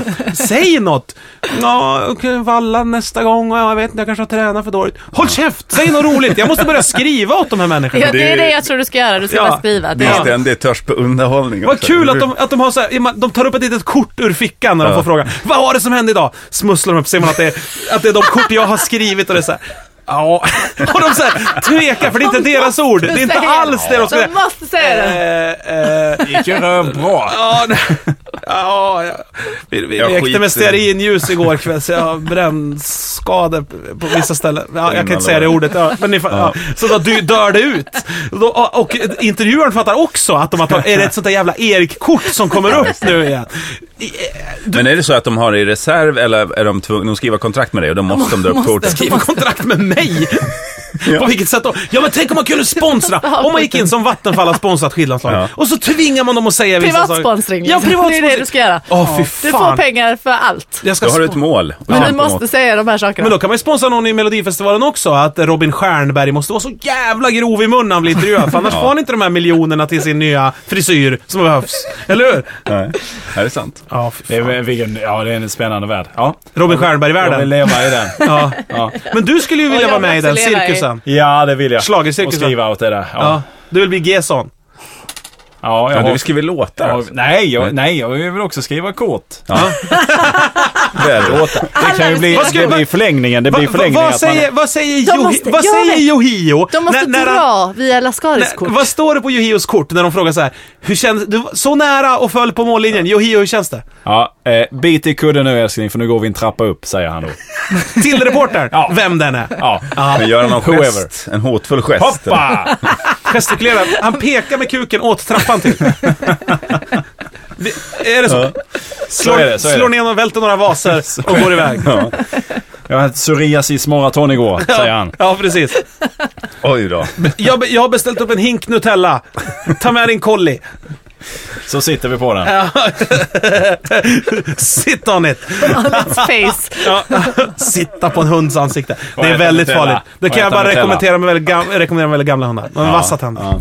Speaker 1: Säg något. Ja, okej, valla nästa gång. Ja, Jag vet inte, jag kanske har tränat för dåligt. Håll käft! Säg något roligt. Jag måste börja skriva åt de här människorna.
Speaker 4: Ja, det är det jag tror du ska göra. Du ska
Speaker 1: Ja.
Speaker 4: bara skriva.
Speaker 3: Det
Speaker 4: Det
Speaker 3: är
Speaker 4: är
Speaker 3: ständig törst på underhållning
Speaker 1: Vad
Speaker 3: också.
Speaker 1: kul att de, att de har så här, de tar upp ett litet kort ur fickan när de får frågan. Vad var det som hände idag? Smusslar de upp, ser man att det är, att det är de kort jag har skrivit och det är så här. Ja. Och de så här, tvekar för det är inte deras ord. Det är inte alls det de ska
Speaker 4: De måste säga det.
Speaker 1: Eh, eh,
Speaker 2: Det gick ju bra.
Speaker 1: Ja, nej. Ja, ja. Vi, vi
Speaker 3: Jag
Speaker 1: lekte
Speaker 3: skiter i.
Speaker 1: med stearinljus igår kväll, så jag har brännskador på vissa ställen. Ja, jag kan inte säga det ordet, ja, men ni, fa- ja. Så då dy- dör det ut. Då, och intervjuaren fattar också att de har tagit, är det ett sånt där jävla Erik-kort som kommer upp nu igen? I-
Speaker 3: Men är det så att de har det i reserv eller är de tvungna, de skriver kontrakt med dig och då måste de dra upp
Speaker 4: måste.
Speaker 3: kortet?
Speaker 1: Skriva kontrakt med mig! På vilket sätt då? Ja men tänk om man kunde sponsra! Om man gick in som Vattenfall har sponsrat skidlandslaget
Speaker 3: Ja.
Speaker 1: och så tvingar man dem att säga vissa saker.
Speaker 4: Privatsponsring.
Speaker 1: Ja,
Speaker 4: liksom. Det är det
Speaker 1: privatsponsring!
Speaker 4: du ska göra.
Speaker 1: Åh fy
Speaker 4: Du
Speaker 1: fan!
Speaker 4: får pengar för allt.
Speaker 1: Jag ska
Speaker 3: Då har du ett
Speaker 1: spon-
Speaker 3: mål. att
Speaker 4: Men
Speaker 3: kämpa
Speaker 4: du
Speaker 3: mot.
Speaker 4: måste säga de här sakerna.
Speaker 1: Men då kan man ju sponsra någon i Melodifestivalen också, att Robin Stjernberg måste vara så jävla grov i munnen när han blir intervjuad, för annars får han inte de här miljonerna till sin nya frisyr som behövs. Eller hur?
Speaker 3: Nej, är det sant?
Speaker 1: Ja,
Speaker 2: Det är, väl- vilken, ja, det är en spännande värld. Ja,
Speaker 1: Robin
Speaker 2: jag vill
Speaker 1: Stjernberg-världen.
Speaker 2: leva i den.
Speaker 1: Ja.
Speaker 2: Ja,
Speaker 1: Men du skulle ju vilja
Speaker 4: jag
Speaker 1: vara med i
Speaker 4: vill
Speaker 1: den
Speaker 4: också leva i-
Speaker 1: cirkusen.
Speaker 2: ja det vill jag. Och
Speaker 1: Schlagercirkusen.
Speaker 2: skriva åt det där. Ja,
Speaker 1: Ja.
Speaker 2: ja.
Speaker 1: Du vill bli Gesson.
Speaker 2: jag
Speaker 3: Ja,
Speaker 2: har-
Speaker 3: du skriver låtar
Speaker 2: Ja,
Speaker 3: alltså.
Speaker 2: nej, jag, nej, jag vill också skriva kort.
Speaker 3: Ja. Det är det.
Speaker 2: Låta. Det kan ju bli,
Speaker 1: Vad ska-
Speaker 2: det blir förlängningen. Det
Speaker 1: Va,
Speaker 2: blir
Speaker 1: va,
Speaker 2: förlängningen
Speaker 1: vad
Speaker 2: att man-
Speaker 1: säger, vad säger,
Speaker 4: De
Speaker 1: Johi-
Speaker 4: måste-
Speaker 1: vad
Speaker 4: jag
Speaker 1: säger
Speaker 4: vet.
Speaker 1: Johio?
Speaker 4: De måste
Speaker 1: När- när han-
Speaker 4: dra via Lascaris kort.
Speaker 1: Nej, vad står det på Yohios kort när de frågar så här? Hur känns Du var så nära och föll på mållinjen. Yohio, hur känns det?
Speaker 2: Ja, eh, bit i kudden nu älskling för nu går vi en trappa upp, säger han då.
Speaker 1: Till reportern, vem den är.
Speaker 2: Ja.
Speaker 3: Men gör han någon
Speaker 2: Whoever.
Speaker 3: gest? En hotfull gest?
Speaker 2: Hoppa!
Speaker 1: Gestikulerar. Han pekar med kuken åt trappan till. Vi- Är det så?
Speaker 2: Så är det, så är
Speaker 1: slår
Speaker 2: det.
Speaker 1: ner och välter några vaser och går iväg.
Speaker 2: Ja. Jag hade psoriasis maraton igår, säger han.
Speaker 1: Ja, precis.
Speaker 3: Oj då.
Speaker 1: Jag, be- jag har beställt upp en hink Nutella. Ta med din kolli.
Speaker 2: Så sitter vi på den.
Speaker 1: Sit on it.
Speaker 4: On its face.
Speaker 1: Ja. Sitta på en hunds ansikte. Det är
Speaker 2: äta
Speaker 1: väldigt
Speaker 2: Nutella.
Speaker 1: farligt. Det
Speaker 2: Och
Speaker 1: kan jag
Speaker 2: äta
Speaker 1: bara
Speaker 2: Nutella.
Speaker 1: rekommendera med väldigt, gam- rekommendera med väldigt gamla hundar. De har vassa tänder.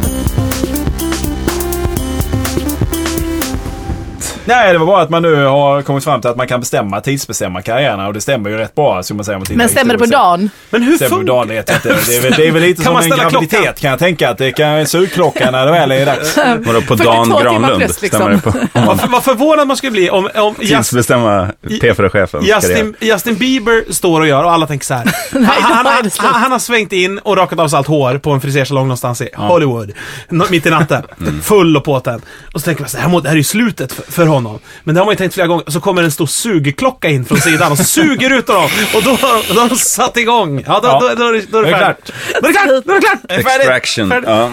Speaker 2: Nej, det var bara att man nu har kommit fram till att man kan bestämma, tidsbestämma karriärerna och det stämmer ju rätt bra. Så man säger, om man tittar
Speaker 4: Men stämmer det på
Speaker 2: historiskt sett.
Speaker 4: dagen?
Speaker 1: Men hur
Speaker 2: Stämmer på
Speaker 1: funkar...
Speaker 2: dagen vet jag inte. Det är väl, det är väl lite
Speaker 1: Kan man
Speaker 2: som en
Speaker 1: ställa
Speaker 2: graviditet
Speaker 1: klockan?
Speaker 2: kan jag tänka. Att det kan en sugklocka när det väl är dags.
Speaker 3: Vadå, på
Speaker 4: 42
Speaker 3: Dan
Speaker 4: timmar
Speaker 3: Granlund?
Speaker 4: plus, liksom.
Speaker 3: Stämmer det på? Om man
Speaker 1: Vad, vad förvånad man skulle bli om, om Justin,
Speaker 3: tidsbestämma P4-chefen?
Speaker 1: Justin, Justin Bieber står och gör och alla tänker så här. Han, han,
Speaker 4: då är
Speaker 1: han,
Speaker 4: det slut.
Speaker 1: han, han har svängt in och rakat av sig allt hår på en frisersalong någonstans i Hollywood. Nå- Mitt i natten. Full och påtänd. Och så tänker man så här, "Det här, må, det här är ju slutet för, för honom. Men det har man ju tänkt flera gånger. Så kommer en stor sugklocka in från sidan och suger ut honom. Och då har då har de satt igång. Ja, då,
Speaker 2: Ja.
Speaker 1: då, då, är det- då är det
Speaker 2: Det är
Speaker 1: färdigt. Då är det klart! Då är det klart! Det är färdigt.
Speaker 3: Extraction.
Speaker 1: Färdigt.
Speaker 3: Ja.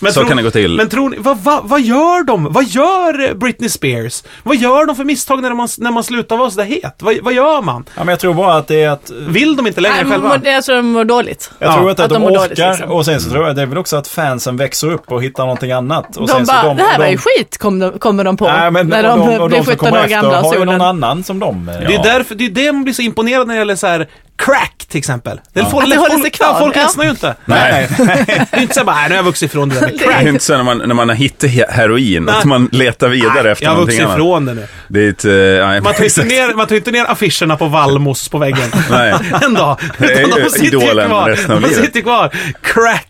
Speaker 1: Men
Speaker 3: Så kan det gå till.
Speaker 1: Men tror ni, vad, vad, vad gör de? Vad gör eh, Britney Spears? Vad gör de för misstag när man, när man slutar vara sådär het? Vad, vad gör man?
Speaker 2: Ja, men jag tror bara att det är att
Speaker 1: Vill de inte längre
Speaker 4: Nej,
Speaker 1: själva?
Speaker 4: men Jag tror de mår dåligt.
Speaker 2: Jag
Speaker 1: Ja,
Speaker 2: tror att,
Speaker 4: att
Speaker 2: att de,
Speaker 4: de mår
Speaker 2: orkar
Speaker 4: dåligt, liksom.
Speaker 2: och sen så tror jag det är väl också att fansen växer upp och hittar någonting annat. Och
Speaker 4: De
Speaker 2: sen
Speaker 4: bara,
Speaker 2: så de,
Speaker 4: det här
Speaker 2: de,
Speaker 4: var ju skit, kom de, kommer de på.
Speaker 2: Nej, men
Speaker 4: när
Speaker 2: och
Speaker 4: de,
Speaker 2: och
Speaker 4: blir
Speaker 2: som
Speaker 4: 17
Speaker 2: kommer
Speaker 4: år
Speaker 2: efter
Speaker 4: gamla och
Speaker 2: har ju någon
Speaker 4: solen.
Speaker 2: annan som de. eh,
Speaker 1: Det är
Speaker 2: ja.
Speaker 1: därför, det är det man blir så imponerad när det gäller så här crack till exempel. Det är folk,
Speaker 4: Att det håller sig
Speaker 1: folk,
Speaker 4: kvar,
Speaker 1: ja, folk
Speaker 4: ja.
Speaker 1: ledsnar ju inte.
Speaker 3: Nej,
Speaker 1: Det är inte såhär bara, "Nej, nu har jag vuxit ifrån det där med
Speaker 3: det
Speaker 1: crack.
Speaker 3: är inte så när man, när man har hittat he- heroin,
Speaker 1: Nej.
Speaker 3: att man letar vidare efter
Speaker 1: jag har
Speaker 3: någonting
Speaker 1: vuxit
Speaker 3: annat.
Speaker 1: ifrån det nu.
Speaker 3: Det är ett... eh, nej,
Speaker 1: Man tar ju inte
Speaker 3: exakt.
Speaker 1: ner, man tar ju inte ner affischerna på Valmos på väggen.
Speaker 3: Nej.
Speaker 1: En dag.
Speaker 3: Det är
Speaker 1: Utan
Speaker 3: ju
Speaker 1: de sitter ju
Speaker 3: idolen resten
Speaker 1: kvar.
Speaker 3: av
Speaker 1: De
Speaker 3: livet.
Speaker 1: sitter kvar.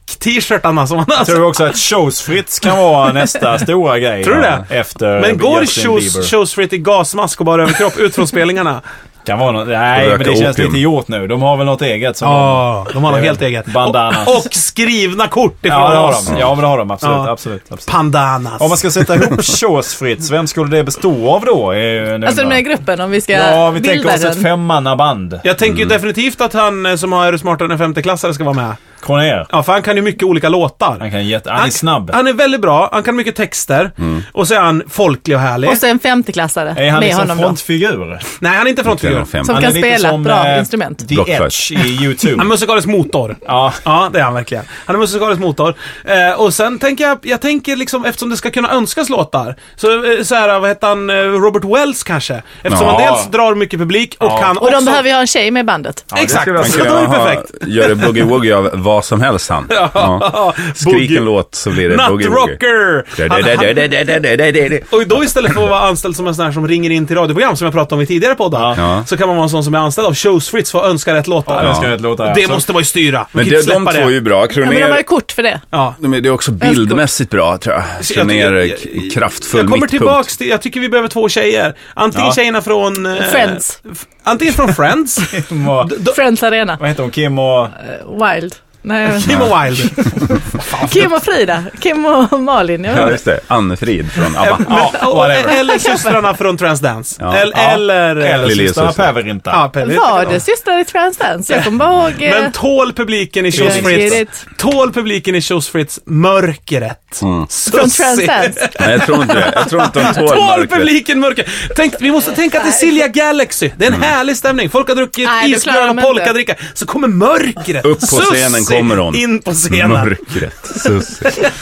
Speaker 1: Crack-t-shirtarna som man har.
Speaker 2: Jag tror också att showsfritt kan vara nästa stora grej.
Speaker 1: Tror du
Speaker 2: ja,
Speaker 1: det?
Speaker 2: Efter
Speaker 1: Men går
Speaker 2: Eh, Justin Bieber.
Speaker 1: shows, shows i gasmask och bara överkropp ut från spelningarna?
Speaker 2: Kan vara något, nej, men
Speaker 3: Röka
Speaker 2: det känns
Speaker 3: opium.
Speaker 2: lite gjort nu. De har väl något eget som de...
Speaker 1: Ja, de har
Speaker 2: Det
Speaker 1: något
Speaker 2: är
Speaker 1: helt
Speaker 2: väl
Speaker 1: eget.
Speaker 2: bandanas.
Speaker 1: Och, och skrivna kort ifrån
Speaker 2: Ja, det har
Speaker 1: oss.
Speaker 2: de. Ja, men det har de. Absolut.
Speaker 1: Ja.
Speaker 2: absolut, absolut.
Speaker 1: Pandanas.
Speaker 2: Om man ska sätta ihop showsfritt, vem skulle det bestå av då? Är ju en
Speaker 4: Alltså den
Speaker 2: undran.
Speaker 4: här gruppen, om vi ska
Speaker 2: Ja, vi
Speaker 4: bilda
Speaker 2: tänker oss ett
Speaker 4: den.
Speaker 2: femmannaband.
Speaker 1: Jag tänker ju definitivt att han eh, som är smartare än en femteklassare ska vara med.
Speaker 2: Kronér.
Speaker 1: Ja, för han kan ju mycket olika låtar.
Speaker 2: Han, kan jätte, han är snabb.
Speaker 1: Han är väldigt bra, han kan mycket texter.
Speaker 2: Mm.
Speaker 1: Och så är han folklig och härlig.
Speaker 4: Och så en femteklassare
Speaker 2: Är han
Speaker 4: med
Speaker 2: liksom
Speaker 4: honom då.
Speaker 2: frontfigur?
Speaker 1: Nej, han är inte frontfigur.
Speaker 3: Fem.
Speaker 4: Som
Speaker 2: Han
Speaker 4: kan
Speaker 2: är lite
Speaker 4: spela ett
Speaker 2: som,
Speaker 4: bra
Speaker 2: eh,
Speaker 4: instrument.
Speaker 2: The
Speaker 3: Blockflöjt.
Speaker 2: Edge i
Speaker 1: Han är
Speaker 2: YouTube.
Speaker 1: musikalisk motor.
Speaker 2: Ja.
Speaker 1: Ja, det är han verkligen. Han är musikalisk motor. Eh, och sen tänker jag, jag tänker liksom eftersom det ska kunna önskas låtar. Så, eh, så här, vad heter han, Eh, Robert Wells kanske? Eftersom
Speaker 2: Ja.
Speaker 1: han dels drar mycket publik och han
Speaker 4: Och
Speaker 1: också...
Speaker 4: de behöver ju ha en tjej med i bandet.
Speaker 1: Exakt, så
Speaker 3: Han kan
Speaker 1: Alltså, det är ju perfekt.
Speaker 3: ha- Göra boogie-woogie av vad som helst han. Ja. Skrik
Speaker 1: Boogie.
Speaker 3: en låt så blir det boogie-woogie.
Speaker 1: Nuttrocker! Han- han- Och då istället för att vara anställd som en sån här som ringer in till radioprogram som jag pratade om i tidigare poddar.
Speaker 3: Ja.
Speaker 1: Så kan man vara en sån som är anställd av Showsfritz för att önska rätt låtar.
Speaker 2: Ja, önska rätt låtar,
Speaker 1: Det
Speaker 2: ja.
Speaker 1: måste man ju styra. Man
Speaker 3: Alltså- Men
Speaker 1: kan ju
Speaker 3: de,
Speaker 1: inte
Speaker 3: de
Speaker 1: släppa
Speaker 3: två
Speaker 1: det.
Speaker 3: är ju bra.
Speaker 4: Ja, men de har ju
Speaker 3: Kronér,
Speaker 4: kort för det.
Speaker 1: Ja.
Speaker 3: de är- det är också bildmässigt bra tror jag. Kronér, är kraftfull
Speaker 1: Jag kommer
Speaker 3: mittpunkt.
Speaker 1: tillbaks till, jag tycker vi behöver två tjejer. Antingen
Speaker 2: Ja.
Speaker 1: tjejerna från... eh,
Speaker 4: Friends.
Speaker 1: f- Antingen från Friends.
Speaker 2: Vad
Speaker 1: d- d-
Speaker 4: Friends Arena.
Speaker 2: vad heter hon? Kim och...
Speaker 4: Wild. Nej, men-
Speaker 1: Kim och Wilde.
Speaker 4: Kim och Frida. Kim och Malin. Jag
Speaker 3: Ja,
Speaker 4: vet.
Speaker 3: just det. Anne-Frid från ABBA.
Speaker 1: Ja,
Speaker 2: whatever.
Speaker 1: eller systrarna från Transdance.
Speaker 3: Ja.
Speaker 1: Eller...
Speaker 2: Ja.
Speaker 1: eller, eh,
Speaker 2: Eller
Speaker 3: Lille
Speaker 2: systrarna
Speaker 3: syster.
Speaker 2: Päverinta.
Speaker 1: Ja,
Speaker 4: inte.
Speaker 1: Pelle.
Speaker 4: Var det systrar i Transdance? Jag kommer bara ihåg... eh,
Speaker 1: Men tål publiken i Tjos
Speaker 4: Björn
Speaker 1: Fritz.
Speaker 4: Gerrit
Speaker 1: Tål publiken i Tjos Fritz mörkret. Mm.
Speaker 4: Från Transdance.
Speaker 3: Nej, jag tror inte det. Jag tror inte de tål
Speaker 1: Tål
Speaker 3: mörkret.
Speaker 1: publiken mörker. Tänk, vi måste tänka att det är Silja Galaxy. Det är
Speaker 3: Mm.
Speaker 1: en härlig stämning. Folk har druckit
Speaker 4: Nej, det klarar
Speaker 1: isbjörn
Speaker 4: de
Speaker 1: och
Speaker 4: inte.
Speaker 1: polkadricka. Så kommer mörkret.
Speaker 3: Upp på scenen
Speaker 1: Sussi
Speaker 3: kommer hon.
Speaker 1: In på scenen.
Speaker 3: Mörkret. Sussi.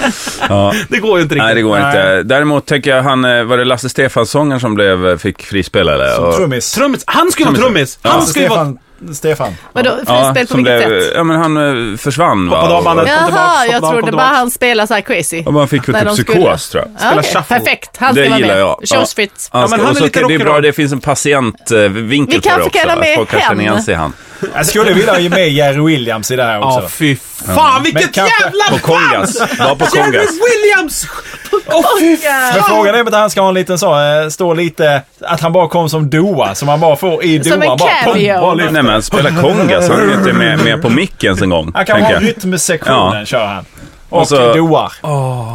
Speaker 3: Ja.
Speaker 1: Det går ju inte riktigt.
Speaker 3: Nej, det går inte. Däremot tänker jag, han, eh, var det Lasse Stefans-sångaren som blev, eh, fick frispel eller? Och-
Speaker 2: Trummis.
Speaker 1: Trummis. Han skulle vara trummis. Han
Speaker 2: Alltså,
Speaker 1: skulle vara...
Speaker 2: Stefan. Stefan.
Speaker 4: Vadå,
Speaker 3: Ja,
Speaker 4: frispel på
Speaker 3: som
Speaker 4: vilket
Speaker 3: blev,
Speaker 4: sätt?
Speaker 3: ja, men han eh, försvann va?
Speaker 1: Hoppade av
Speaker 3: Och-
Speaker 1: bandet. kom
Speaker 4: Jaha,
Speaker 1: tillbaks,
Speaker 4: jag
Speaker 1: kom
Speaker 4: trodde
Speaker 1: tillbaks.
Speaker 4: bara han spelar så här crazy.
Speaker 3: Och man fick väl
Speaker 4: När
Speaker 3: typ
Speaker 4: de skulle-
Speaker 3: psykos tror jag.
Speaker 4: Ja, okej.
Speaker 1: shuffle.
Speaker 4: Perfekt, han
Speaker 3: Det
Speaker 4: ska vara
Speaker 3: gillar
Speaker 4: med.
Speaker 3: jag. Ja.
Speaker 4: Tjos Fritz.
Speaker 3: Han
Speaker 1: men
Speaker 3: ska,
Speaker 1: han
Speaker 3: och
Speaker 1: är
Speaker 3: så,
Speaker 1: lite
Speaker 3: det är bra,
Speaker 1: rock'n'roll.
Speaker 3: det finns en patientvinkel
Speaker 4: Vi kan
Speaker 3: på det också.
Speaker 4: förkalla
Speaker 3: att
Speaker 4: med
Speaker 3: folk kan
Speaker 4: hen.
Speaker 3: känna igen sig i han.
Speaker 2: Jag skulle vilja ha med Jerry Williams i det här
Speaker 1: Ja,
Speaker 2: också.
Speaker 1: fy fan vilket
Speaker 2: Men kanske-
Speaker 1: jävla
Speaker 3: På Kongas. Var på
Speaker 1: Jerry
Speaker 3: Kongas.
Speaker 1: Williams! Åh fy fan!
Speaker 2: Men frågan är om inte han ska ha en liten så, eh, stå lite, att han bara kom som doa, som han bara får i doa.
Speaker 4: Som en
Speaker 2: bara, pum,
Speaker 4: cameo.
Speaker 2: bara lyft.
Speaker 3: Nej men han spelar Kongas, han är ju inte med, med på micken en gång.
Speaker 2: Han kan
Speaker 3: tänker
Speaker 2: ha
Speaker 3: jag.
Speaker 2: rytmsektionen,
Speaker 3: Ja.
Speaker 2: kör han. Och,
Speaker 3: Och så-
Speaker 2: doar.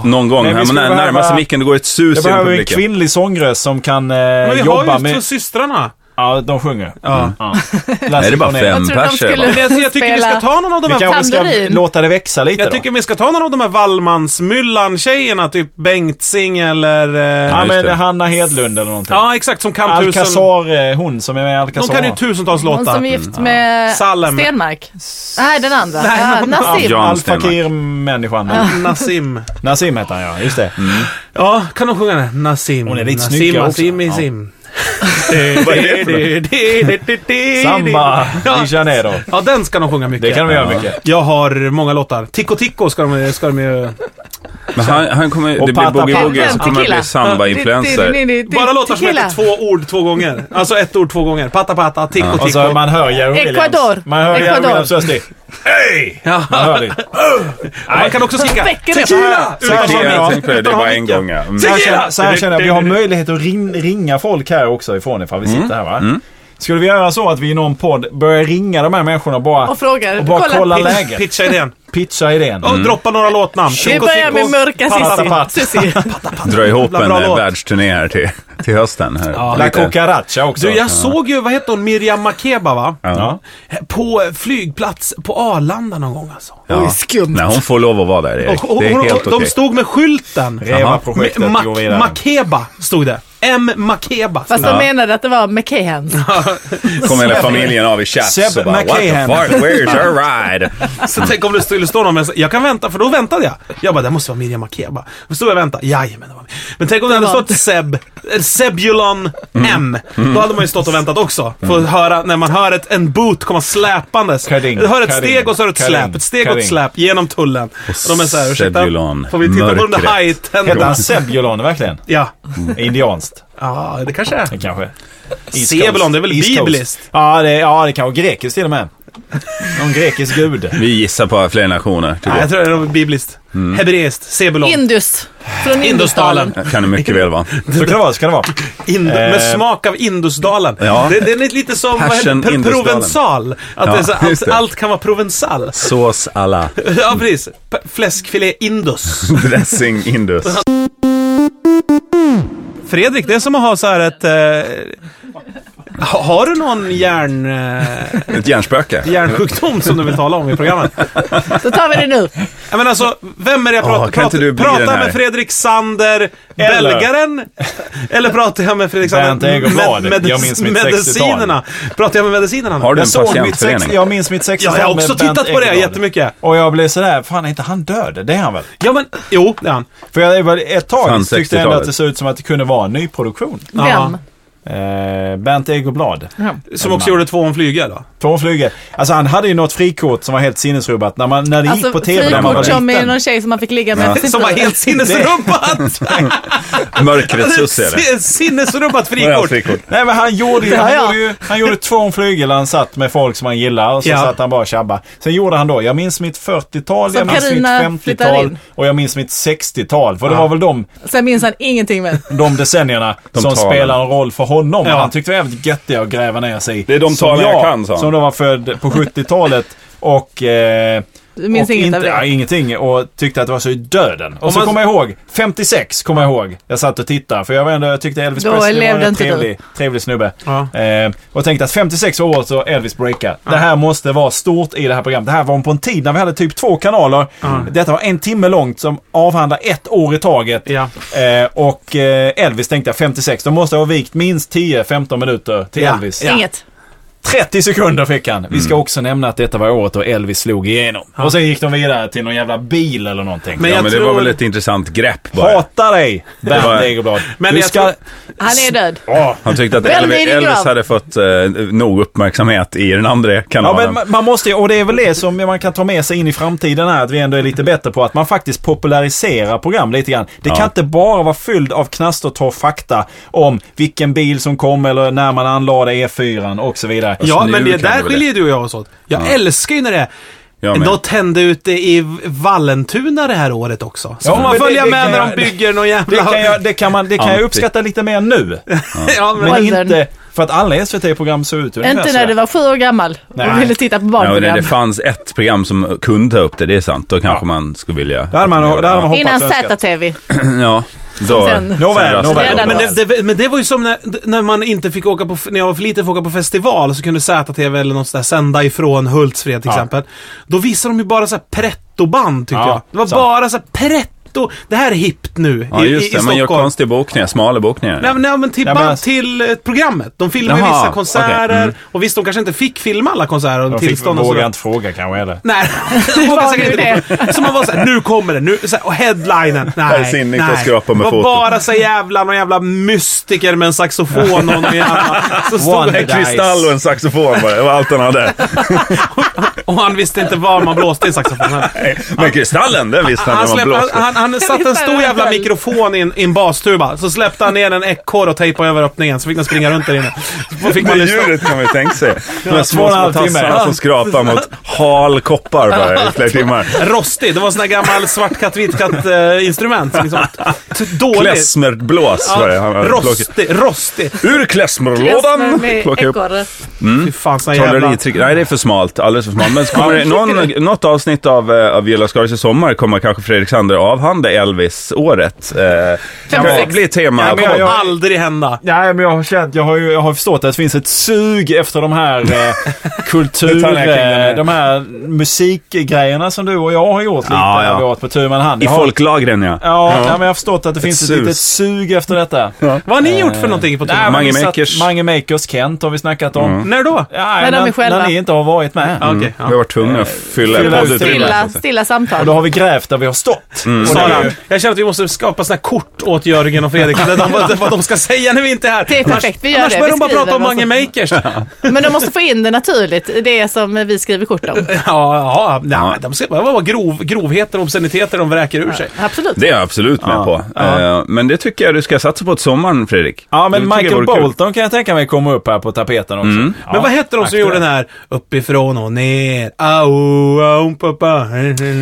Speaker 3: Någon gång,
Speaker 2: Nej, vi
Speaker 3: här, men
Speaker 2: skulle
Speaker 3: när-
Speaker 2: behöva-
Speaker 3: närmar sig micken, det går ett sus genom
Speaker 2: Jag behöver en
Speaker 3: publiken.
Speaker 2: kvinnlig sångröst som kan eh,
Speaker 1: Men vi har
Speaker 2: jobba
Speaker 1: ju två
Speaker 2: med...
Speaker 1: systrarna.
Speaker 2: Ja, de sjunger. Mm.
Speaker 1: Ja.
Speaker 3: Nej, det är bara fem
Speaker 4: Jag tror de
Speaker 3: personer.
Speaker 4: skulle-
Speaker 3: va?
Speaker 1: Men jag, jag tycker vi ska
Speaker 4: Spela-
Speaker 1: ta någon av de
Speaker 2: Vi
Speaker 1: här
Speaker 2: kanske ska
Speaker 4: Tamburin.
Speaker 2: låta det växa lite
Speaker 1: Jag
Speaker 2: då.
Speaker 1: tycker vi ska ta någon av de här Wallmansmyllan-tjejerna, typ Bengtzing eller... eh,
Speaker 2: Ja,
Speaker 3: just
Speaker 2: men
Speaker 3: det.
Speaker 2: Hanna Hedlund eller någonting.
Speaker 1: Ja, exakt, som kan tusen...
Speaker 2: Alcazar, eh, hon som är med i
Speaker 1: De
Speaker 2: Alcazar.
Speaker 1: kan ju tusentals
Speaker 4: Hon
Speaker 1: låtar.
Speaker 4: som är gift med
Speaker 1: Salem.
Speaker 4: Stenmark. Nej, den andra.
Speaker 1: Nej,
Speaker 4: ja,
Speaker 1: hon-
Speaker 4: Nassim.
Speaker 3: Ja.
Speaker 2: Al
Speaker 3: Stenmark.
Speaker 2: Fakir-människan.
Speaker 1: Nassim.
Speaker 2: Nassim heter han ja, just det.
Speaker 1: Ja, kan de sjunga den? Nassim.
Speaker 2: Hon är lite
Speaker 1: Nassim,
Speaker 2: snyggare också.
Speaker 1: Nassim,
Speaker 2: Ja.
Speaker 1: Nassim.
Speaker 3: Vad är det för något?
Speaker 2: Samba
Speaker 1: Ja.
Speaker 2: de Janeiro.
Speaker 1: Ja, den ska de sjunga mycket.
Speaker 2: Det kan de göra mycket.
Speaker 1: Jag har många låtar. Tico Tico ska de, ska de ju...
Speaker 3: Men han, han kommer, det
Speaker 2: Och
Speaker 3: blir
Speaker 2: Pata Pata.
Speaker 3: boogie-woogie, så kommer det
Speaker 4: Tequila.
Speaker 3: bli samba-influencer.
Speaker 1: Bara låtar som heter två ord två gånger. Alltså ett ord två gånger. Patta patta, tico
Speaker 2: Och
Speaker 1: tico.
Speaker 2: så man hör Jerry Williams.
Speaker 4: Ecuador.
Speaker 2: Man hör Jerry
Speaker 4: Ecuador.
Speaker 2: Williams röst i. Hej!
Speaker 1: Ja.
Speaker 2: Man hör det.
Speaker 1: Man kan också skrika
Speaker 4: Väcker det.
Speaker 1: Tequila!
Speaker 2: Så här
Speaker 1: Utan
Speaker 3: Det,
Speaker 2: känner jag.
Speaker 3: jag tänkte det, det
Speaker 1: utan
Speaker 3: var
Speaker 1: ha
Speaker 3: en
Speaker 1: micken.
Speaker 3: gång ja. Mm.
Speaker 2: Så här
Speaker 1: Tequila!
Speaker 2: känner- Så här känner jag. Vi har möjlighet att rin, ringa folk här också ifrån ifall vi sitter här va? Skulle vi göra så att vi i någon podd börjar ringa de här människorna och bara,
Speaker 4: Och frågar.
Speaker 2: och bara
Speaker 4: Kolla.
Speaker 2: kolla,
Speaker 1: Pitch-
Speaker 2: läget.
Speaker 1: Pitcha idén.
Speaker 2: Pitcha idén.
Speaker 1: Och droppa några låtnamn.
Speaker 4: Vi
Speaker 1: Tico
Speaker 4: börjar
Speaker 1: Tico.
Speaker 4: med mörka
Speaker 1: Patta Patta.
Speaker 4: Sissi. Sissi.
Speaker 3: Dra ihop
Speaker 1: Jävla
Speaker 3: en
Speaker 1: bra
Speaker 3: eh,
Speaker 1: låt.
Speaker 3: världsturné här till, till hösten. Här.
Speaker 2: La
Speaker 3: Lite-
Speaker 2: Cucaracha också.
Speaker 1: Du, jag såg ju, vad hette hon, Miriam Makeba va?
Speaker 3: Ja.
Speaker 1: På flygplats på Arlanda någon gång alltså.
Speaker 3: Ja.
Speaker 4: Oj, skumt.
Speaker 3: Nej, hon får lov att vara där Erik.
Speaker 1: Och, och,
Speaker 3: Det är
Speaker 1: hon,
Speaker 3: helt
Speaker 1: de
Speaker 3: okej.
Speaker 1: stod med skylten.
Speaker 2: Reva-projektet
Speaker 1: Ma-
Speaker 2: går vidare.
Speaker 1: Makeba stod det. M. Makeba.
Speaker 4: Fast de menade att det var McKehan.
Speaker 3: kom hela familjen av i chatt.
Speaker 2: Seb
Speaker 3: och bara, What the
Speaker 2: McCahan."
Speaker 3: fuck, where's our ride?
Speaker 1: Så tänk om det skulle stå någon med jag kan vänta, för då väntade jag. Jag bara, det måste vara Miriam Makeba. Så stod jag och väntade, jajamän. det var- Men tänk om det hade
Speaker 4: var-
Speaker 1: stått Seb, eh, Sebulon
Speaker 3: Mm.
Speaker 1: M. Då hade man ju stått och väntat också. För att höra, när man hör ett, en boot komma släpandes.
Speaker 2: Kading,
Speaker 1: Du hör ett
Speaker 2: kading,
Speaker 1: steg och så hör ett
Speaker 2: kading,
Speaker 1: släp, ett steg och ett
Speaker 2: kading.
Speaker 1: släp genom tullen. Och de är såhär, ursäkta,
Speaker 3: Sebulon,
Speaker 1: får vi titta på de där
Speaker 3: mörkret."
Speaker 2: Hette
Speaker 1: hajtänderna?
Speaker 2: han Sebulon verkligen?
Speaker 1: Ja.
Speaker 2: Indianskt.
Speaker 1: ja, det kanske är.
Speaker 2: Det kanske. Mm. East
Speaker 1: Sebulon,
Speaker 2: Coast.
Speaker 1: det är väl
Speaker 2: East Coast.
Speaker 1: bibliskt?
Speaker 2: Ja, det, ja, det kanske grekiskt till och med. Någon grekisk gud.
Speaker 3: Vi gissar på fler nationer. typ. tycker
Speaker 1: Nej, jag tror det är bibliskt.
Speaker 3: Mm.
Speaker 1: Hebreiskt, Sebulon.
Speaker 4: Indus. Från
Speaker 1: Indusdalen.
Speaker 4: Indusdalen.
Speaker 3: jag. Kan det mycket väl vara.
Speaker 2: Så kan det vara. Så kan det vara.
Speaker 1: Ind- med
Speaker 2: Eh,
Speaker 1: smak av Indusdalen.
Speaker 3: Ja.
Speaker 1: Det, det är lite som vad heter,
Speaker 3: Passion
Speaker 1: det? Pro-
Speaker 3: Indusdalen.
Speaker 1: provensal. Att
Speaker 3: Ja,
Speaker 1: det är så,
Speaker 3: just
Speaker 1: allt,
Speaker 3: det.
Speaker 1: allt kan vara provensal.
Speaker 3: Sås alla.
Speaker 1: Ja, precis. P- Fläskfilé Indus.
Speaker 3: Dressing Indus.
Speaker 1: Fredrik, det är som att ha så här ett... Eh, ha- har du någon hjärn, eh,
Speaker 3: Ett hjärnspöke.
Speaker 1: hjärnsjukdom som du vill tala om i programmet?
Speaker 4: Då tar vi det nu.
Speaker 1: Jag menar alltså, vem är det jag pratar
Speaker 3: Åh, kan inte du bli den
Speaker 1: Pratar
Speaker 3: här?
Speaker 1: jag med Fredrik Sander, belgaren? Eller pratar jag med Fredrik Sander,
Speaker 2: Bernt Egerblad. Jag minns mitt 60-tal.
Speaker 1: medicinerna? Pratar jag med medicinerna? nu?
Speaker 3: Har du en
Speaker 2: Jag, såg mitt sex,
Speaker 3: patientförening?
Speaker 2: jag minns mitt
Speaker 1: Ja,
Speaker 2: 60-tal
Speaker 1: jag har
Speaker 2: med
Speaker 1: också
Speaker 2: Bernt
Speaker 1: tittat på det
Speaker 2: Egerblad.
Speaker 1: jättemycket.
Speaker 2: Och jag blev sådär, fan är inte han död? Det är han väl?
Speaker 1: Ja, men jo, det är han.
Speaker 2: För jag var ett tag
Speaker 3: Fan,
Speaker 2: tyckte jag ändå
Speaker 3: 60-talet.
Speaker 2: att det såg ut som att det kunde vara en ny produktion.
Speaker 4: Vem?
Speaker 2: Eh, Bernt Egerblad.
Speaker 1: Som också gjorde två om flyga då.
Speaker 2: Från Flyge. Alltså han hade ju något frikort som var helt sinnesrubbat. När, man, när det gick på tv när man var
Speaker 4: Alltså, frikort som är
Speaker 2: liten.
Speaker 4: någon tjej som man fick ligga med. efter sin
Speaker 1: Som var
Speaker 4: fru.
Speaker 1: helt sinnesrubbat!
Speaker 3: Mörkrets suss är det.
Speaker 1: Sin- sinnesrubbat
Speaker 3: Vad är
Speaker 1: frikort!
Speaker 3: hans frikort?
Speaker 2: Nej men han gjorde ju,
Speaker 4: Det har
Speaker 2: han
Speaker 4: jag.
Speaker 2: gjorde, ju, han gjorde två om flygel han satt med folk som han gillar och så
Speaker 1: Ja.
Speaker 2: satt han bara och tjabba. Sen gjorde han då, jag minns mitt 40-tal,
Speaker 4: Som
Speaker 2: jag minns
Speaker 4: Carina
Speaker 2: mitt
Speaker 4: flyttar
Speaker 2: 50-tal
Speaker 4: in.
Speaker 2: och jag minns mitt 60-tal. För det var väl de,
Speaker 4: Sen minns han ingenting mer.
Speaker 2: de decennierna
Speaker 3: De
Speaker 2: som
Speaker 3: talen.
Speaker 2: spelar en roll för honom.
Speaker 1: Ja.
Speaker 2: Och han tyckte det var jävligt göttiga att gräva ner sig i.
Speaker 3: Det är de
Speaker 2: Som
Speaker 3: talen jag kan, sa han.
Speaker 2: Som då var född på 70-talet och eh,
Speaker 4: Du minns
Speaker 2: och
Speaker 4: inget
Speaker 2: inte,
Speaker 4: av det?
Speaker 2: ja, ingenting och tyckte att det var så i döden. Och
Speaker 1: Om
Speaker 2: så
Speaker 1: man-
Speaker 2: kommer jag ihåg, 56 kommer jag ihåg. Jag satt och tittade för jag var ändå, jag tyckte Elvis
Speaker 4: Då
Speaker 2: Presley var
Speaker 4: levde
Speaker 2: en
Speaker 4: inte du.
Speaker 2: trevlig, trevlig snubbe.
Speaker 1: Ja.
Speaker 2: Eh, och tänkte att 56 var året då Elvis breakade. Det här måste vara stort i det här programmet. Det här var på en tid när vi hade typ två kanaler. Detta var en timme långt som avhandlar ett år i taget.
Speaker 1: Ja.
Speaker 2: Eh, och eh, Elvis tänkte jag 56, de måste ha vikt minst 10-15 minuter till
Speaker 1: Ja.
Speaker 2: Elvis.
Speaker 1: Ja. Mm.
Speaker 4: Inget.
Speaker 2: 30 sekunder fick han. Vi ska också nämna att detta var året då Elvis slog igenom. Och sen gick de vidare till någon jävla bil eller någonting.
Speaker 1: Men
Speaker 3: ja,
Speaker 1: jag
Speaker 3: men det
Speaker 1: tror-
Speaker 3: var väl ett intressant grepp bara.
Speaker 2: Hata dig,
Speaker 3: var-
Speaker 2: Bernt Egerblad.
Speaker 1: Men
Speaker 2: Vi
Speaker 1: jag
Speaker 2: ska...
Speaker 1: tror-
Speaker 4: Han är död.
Speaker 3: Han tyckte att
Speaker 4: Vänd dig
Speaker 3: Elvis,
Speaker 4: i din
Speaker 3: Elvis
Speaker 4: grav.
Speaker 3: hade fått eh, nog uppmärksamhet i den andra
Speaker 2: Ja,
Speaker 3: kanalen.
Speaker 2: men man- man måste ju, och det är väl det som man kan ta med sig in i framtiden här, att vi ändå är lite bättre på att man faktiskt populariserar program lite grann. Det kan inte bara vara fylld av knastertorr fakta om vilken bil som kom eller när man anlade E4 och så vidare.
Speaker 1: Ja,
Speaker 3: nu
Speaker 1: men det
Speaker 3: kan det
Speaker 1: där
Speaker 3: väl
Speaker 1: skiljer du och jag oss åt. Jag älskar ju när det
Speaker 3: Jag med.
Speaker 1: Då tände ut det i Vallentuna det här året också. Så
Speaker 2: Ja,
Speaker 1: får man
Speaker 2: men det-
Speaker 1: följa
Speaker 2: det
Speaker 1: med
Speaker 2: kan
Speaker 1: när
Speaker 2: jag-
Speaker 1: de bygger någon jävla...
Speaker 2: Det kan jag, det kan man, det kan jag uppskatta lite mer nu.
Speaker 1: ja, men,
Speaker 2: Men
Speaker 4: Åldern.
Speaker 2: inte för att alla SVT-program såg ut ungefär
Speaker 4: Inte
Speaker 2: så.
Speaker 4: när du var sju år gammal och
Speaker 2: Nej.
Speaker 4: ville titta
Speaker 3: Ja,
Speaker 4: på
Speaker 3: och det,
Speaker 4: barnprogram.
Speaker 3: det fanns ett program som kunde ta upp det, det är sant. Då kanske man skulle vilja...
Speaker 2: Det hade man, det hade man hoppats
Speaker 4: Innan
Speaker 2: önskat.
Speaker 4: ZTV.
Speaker 3: Ja, då...
Speaker 4: sen- Nåväl,
Speaker 3: rasade
Speaker 2: nåväl,
Speaker 3: det.
Speaker 4: nåväl.
Speaker 1: men, det, det, men det var ju som när, när man inte fick åka på, när jag var för liten fick åka på festival så kunde ZTV eller något sånt där sända ifrån Hultsfred till
Speaker 2: Ja.
Speaker 1: exempel. Då visade de ju bara så här pretto-band tyckte
Speaker 2: Ja,
Speaker 1: jag. Det var
Speaker 2: sant.
Speaker 1: bara så här pretto. Det här är hippt nu
Speaker 3: Ja,
Speaker 1: i, i, i
Speaker 3: just det.
Speaker 1: Stockholm.
Speaker 3: Man gör konstiga bokningar, smala bokningar.
Speaker 1: Nej, men- nej men till,
Speaker 2: Nej, men
Speaker 1: band,
Speaker 2: alltså-
Speaker 1: till eh, programmet. De filmar ju
Speaker 3: Jaha,
Speaker 1: vissa konserter.
Speaker 3: okej, mm.
Speaker 1: Och visst, de kanske inte fick filma alla konserter och
Speaker 2: Jag fick,
Speaker 1: tillstånd och sådär.
Speaker 2: vågar inte fråga kanske eller?
Speaker 1: Nej,
Speaker 4: var
Speaker 1: vågar säkert
Speaker 4: ju
Speaker 1: inte det. Så man var såhär, nu kommer det, nu, såhär, och headlinen. Nej,
Speaker 3: Här ser ni
Speaker 1: nej.
Speaker 3: inte skrapa med
Speaker 1: det var
Speaker 3: foten.
Speaker 1: bara så jävla, någon jävla mystiker med en saxofon och någon jävla... Som stod
Speaker 2: One.
Speaker 3: En kristall och en saxofon bara, det var allt han hade.
Speaker 1: och han visste inte var man blåste i saxofonen.
Speaker 3: Men kristallen, den visste han
Speaker 1: Han,
Speaker 3: när man
Speaker 1: släppte, han,
Speaker 3: blåste.
Speaker 1: han, han satte en stor jävla mikrofon i en, i en bastuba, så släppte han ner en ekorre och tejpade över öppningen, så fick den springa runt där inne. Så fick man
Speaker 3: Men
Speaker 1: lyssna.
Speaker 3: ljudet kan man ju tänka sig. De här
Speaker 2: två
Speaker 3: små,
Speaker 2: och
Speaker 3: små
Speaker 2: en halv timme.
Speaker 3: tassarna som skrapar mot hal koppar bara i flera timmar.
Speaker 1: Rostig. Det var sån här gammal svart katt, vit katt eh, instrument. Liksom. T- Dåligt.
Speaker 3: Klezmerblås var det. Han hade plockat-
Speaker 1: Rostig, rostig.
Speaker 3: Ur klezmerlådan!
Speaker 4: Med
Speaker 3: Plocka upp.
Speaker 4: ekorre.
Speaker 1: Fy fan, såna
Speaker 3: Trolleri,
Speaker 1: jävla...
Speaker 3: trick. Nej, det är för smalt. Alldeles för smalt. Men så kommer det, någon, något avsnitt av, eh, av Viola Skaris i sommar kommer kanske Fredrik Sander avhanda Elvis-året. Eh, det
Speaker 4: sex.
Speaker 3: blir tema.
Speaker 2: Ja,
Speaker 1: Det
Speaker 2: men jag-
Speaker 1: kommer
Speaker 2: jag-
Speaker 1: aldrig hända.
Speaker 2: Nej, men jag har känt, jag har ju jag har förstått att det finns ett sug efter de här eh, kultur,
Speaker 3: Detaljkillarna.
Speaker 2: eh, de här musikgrejerna som du och jag har gjort lite
Speaker 3: Ja, ja.
Speaker 2: över året på tu man hand.
Speaker 3: I
Speaker 2: Jag har-
Speaker 3: folklagren, ja.
Speaker 2: Ja, ja, men jag har förstått att det finns ett
Speaker 3: sus.
Speaker 2: litet sug efter detta.
Speaker 1: Vad har ni gjort för någonting på
Speaker 2: Nej,
Speaker 1: turné?
Speaker 2: men vi
Speaker 3: Mange
Speaker 2: satt-
Speaker 3: Makers. Mm.
Speaker 2: Mange Makers, Kent har vi snackat om.
Speaker 1: När då?
Speaker 2: Ja,
Speaker 4: Men de är
Speaker 2: när-
Speaker 4: själva.
Speaker 2: När ni inte har varit med.
Speaker 1: Ja, Okej.
Speaker 3: Vi har varit tvungna att fylla
Speaker 2: fylla ut
Speaker 3: poddutrymmet.
Speaker 4: Stilla,
Speaker 3: alltså.
Speaker 4: stilla samtal.
Speaker 2: Och då har vi grävt där vi har stått.
Speaker 3: Mm.
Speaker 2: Och det är
Speaker 1: Sara,
Speaker 2: ju-
Speaker 1: jag känner att vi måste skapa såna här kort åt Jörgen och Fredrik. Där de, vad- vad de ska säga när vi inte är här.
Speaker 4: Det är perfekt, vi gör
Speaker 1: annars
Speaker 4: det.
Speaker 1: börjar
Speaker 4: Vi
Speaker 1: de bara
Speaker 4: skriver
Speaker 1: prata om
Speaker 4: vad
Speaker 1: Mange
Speaker 4: som-
Speaker 1: Makers. Ja,
Speaker 4: Men de måste få in det naturligt, det som vi skriver kort om.
Speaker 1: ja, nej, de ska bara vara grov, grovheter och obsceniteter de vräker ur sig.
Speaker 4: Absolut.
Speaker 3: Det är jag absolut med på. Eh, Men det tycker jag du ska satsa på ett sommaren, Fredrik.
Speaker 2: Ja, men
Speaker 3: Det tycker jag
Speaker 2: Michael
Speaker 3: vore kul. Mm.
Speaker 2: Bolton kan jag tänka mig komma upp här på tapeten också. Ja.
Speaker 1: Men vad hette de som
Speaker 2: aktuell.
Speaker 1: gjorde den här uppifrån och ner? Au, au, pappa.
Speaker 2: Ja,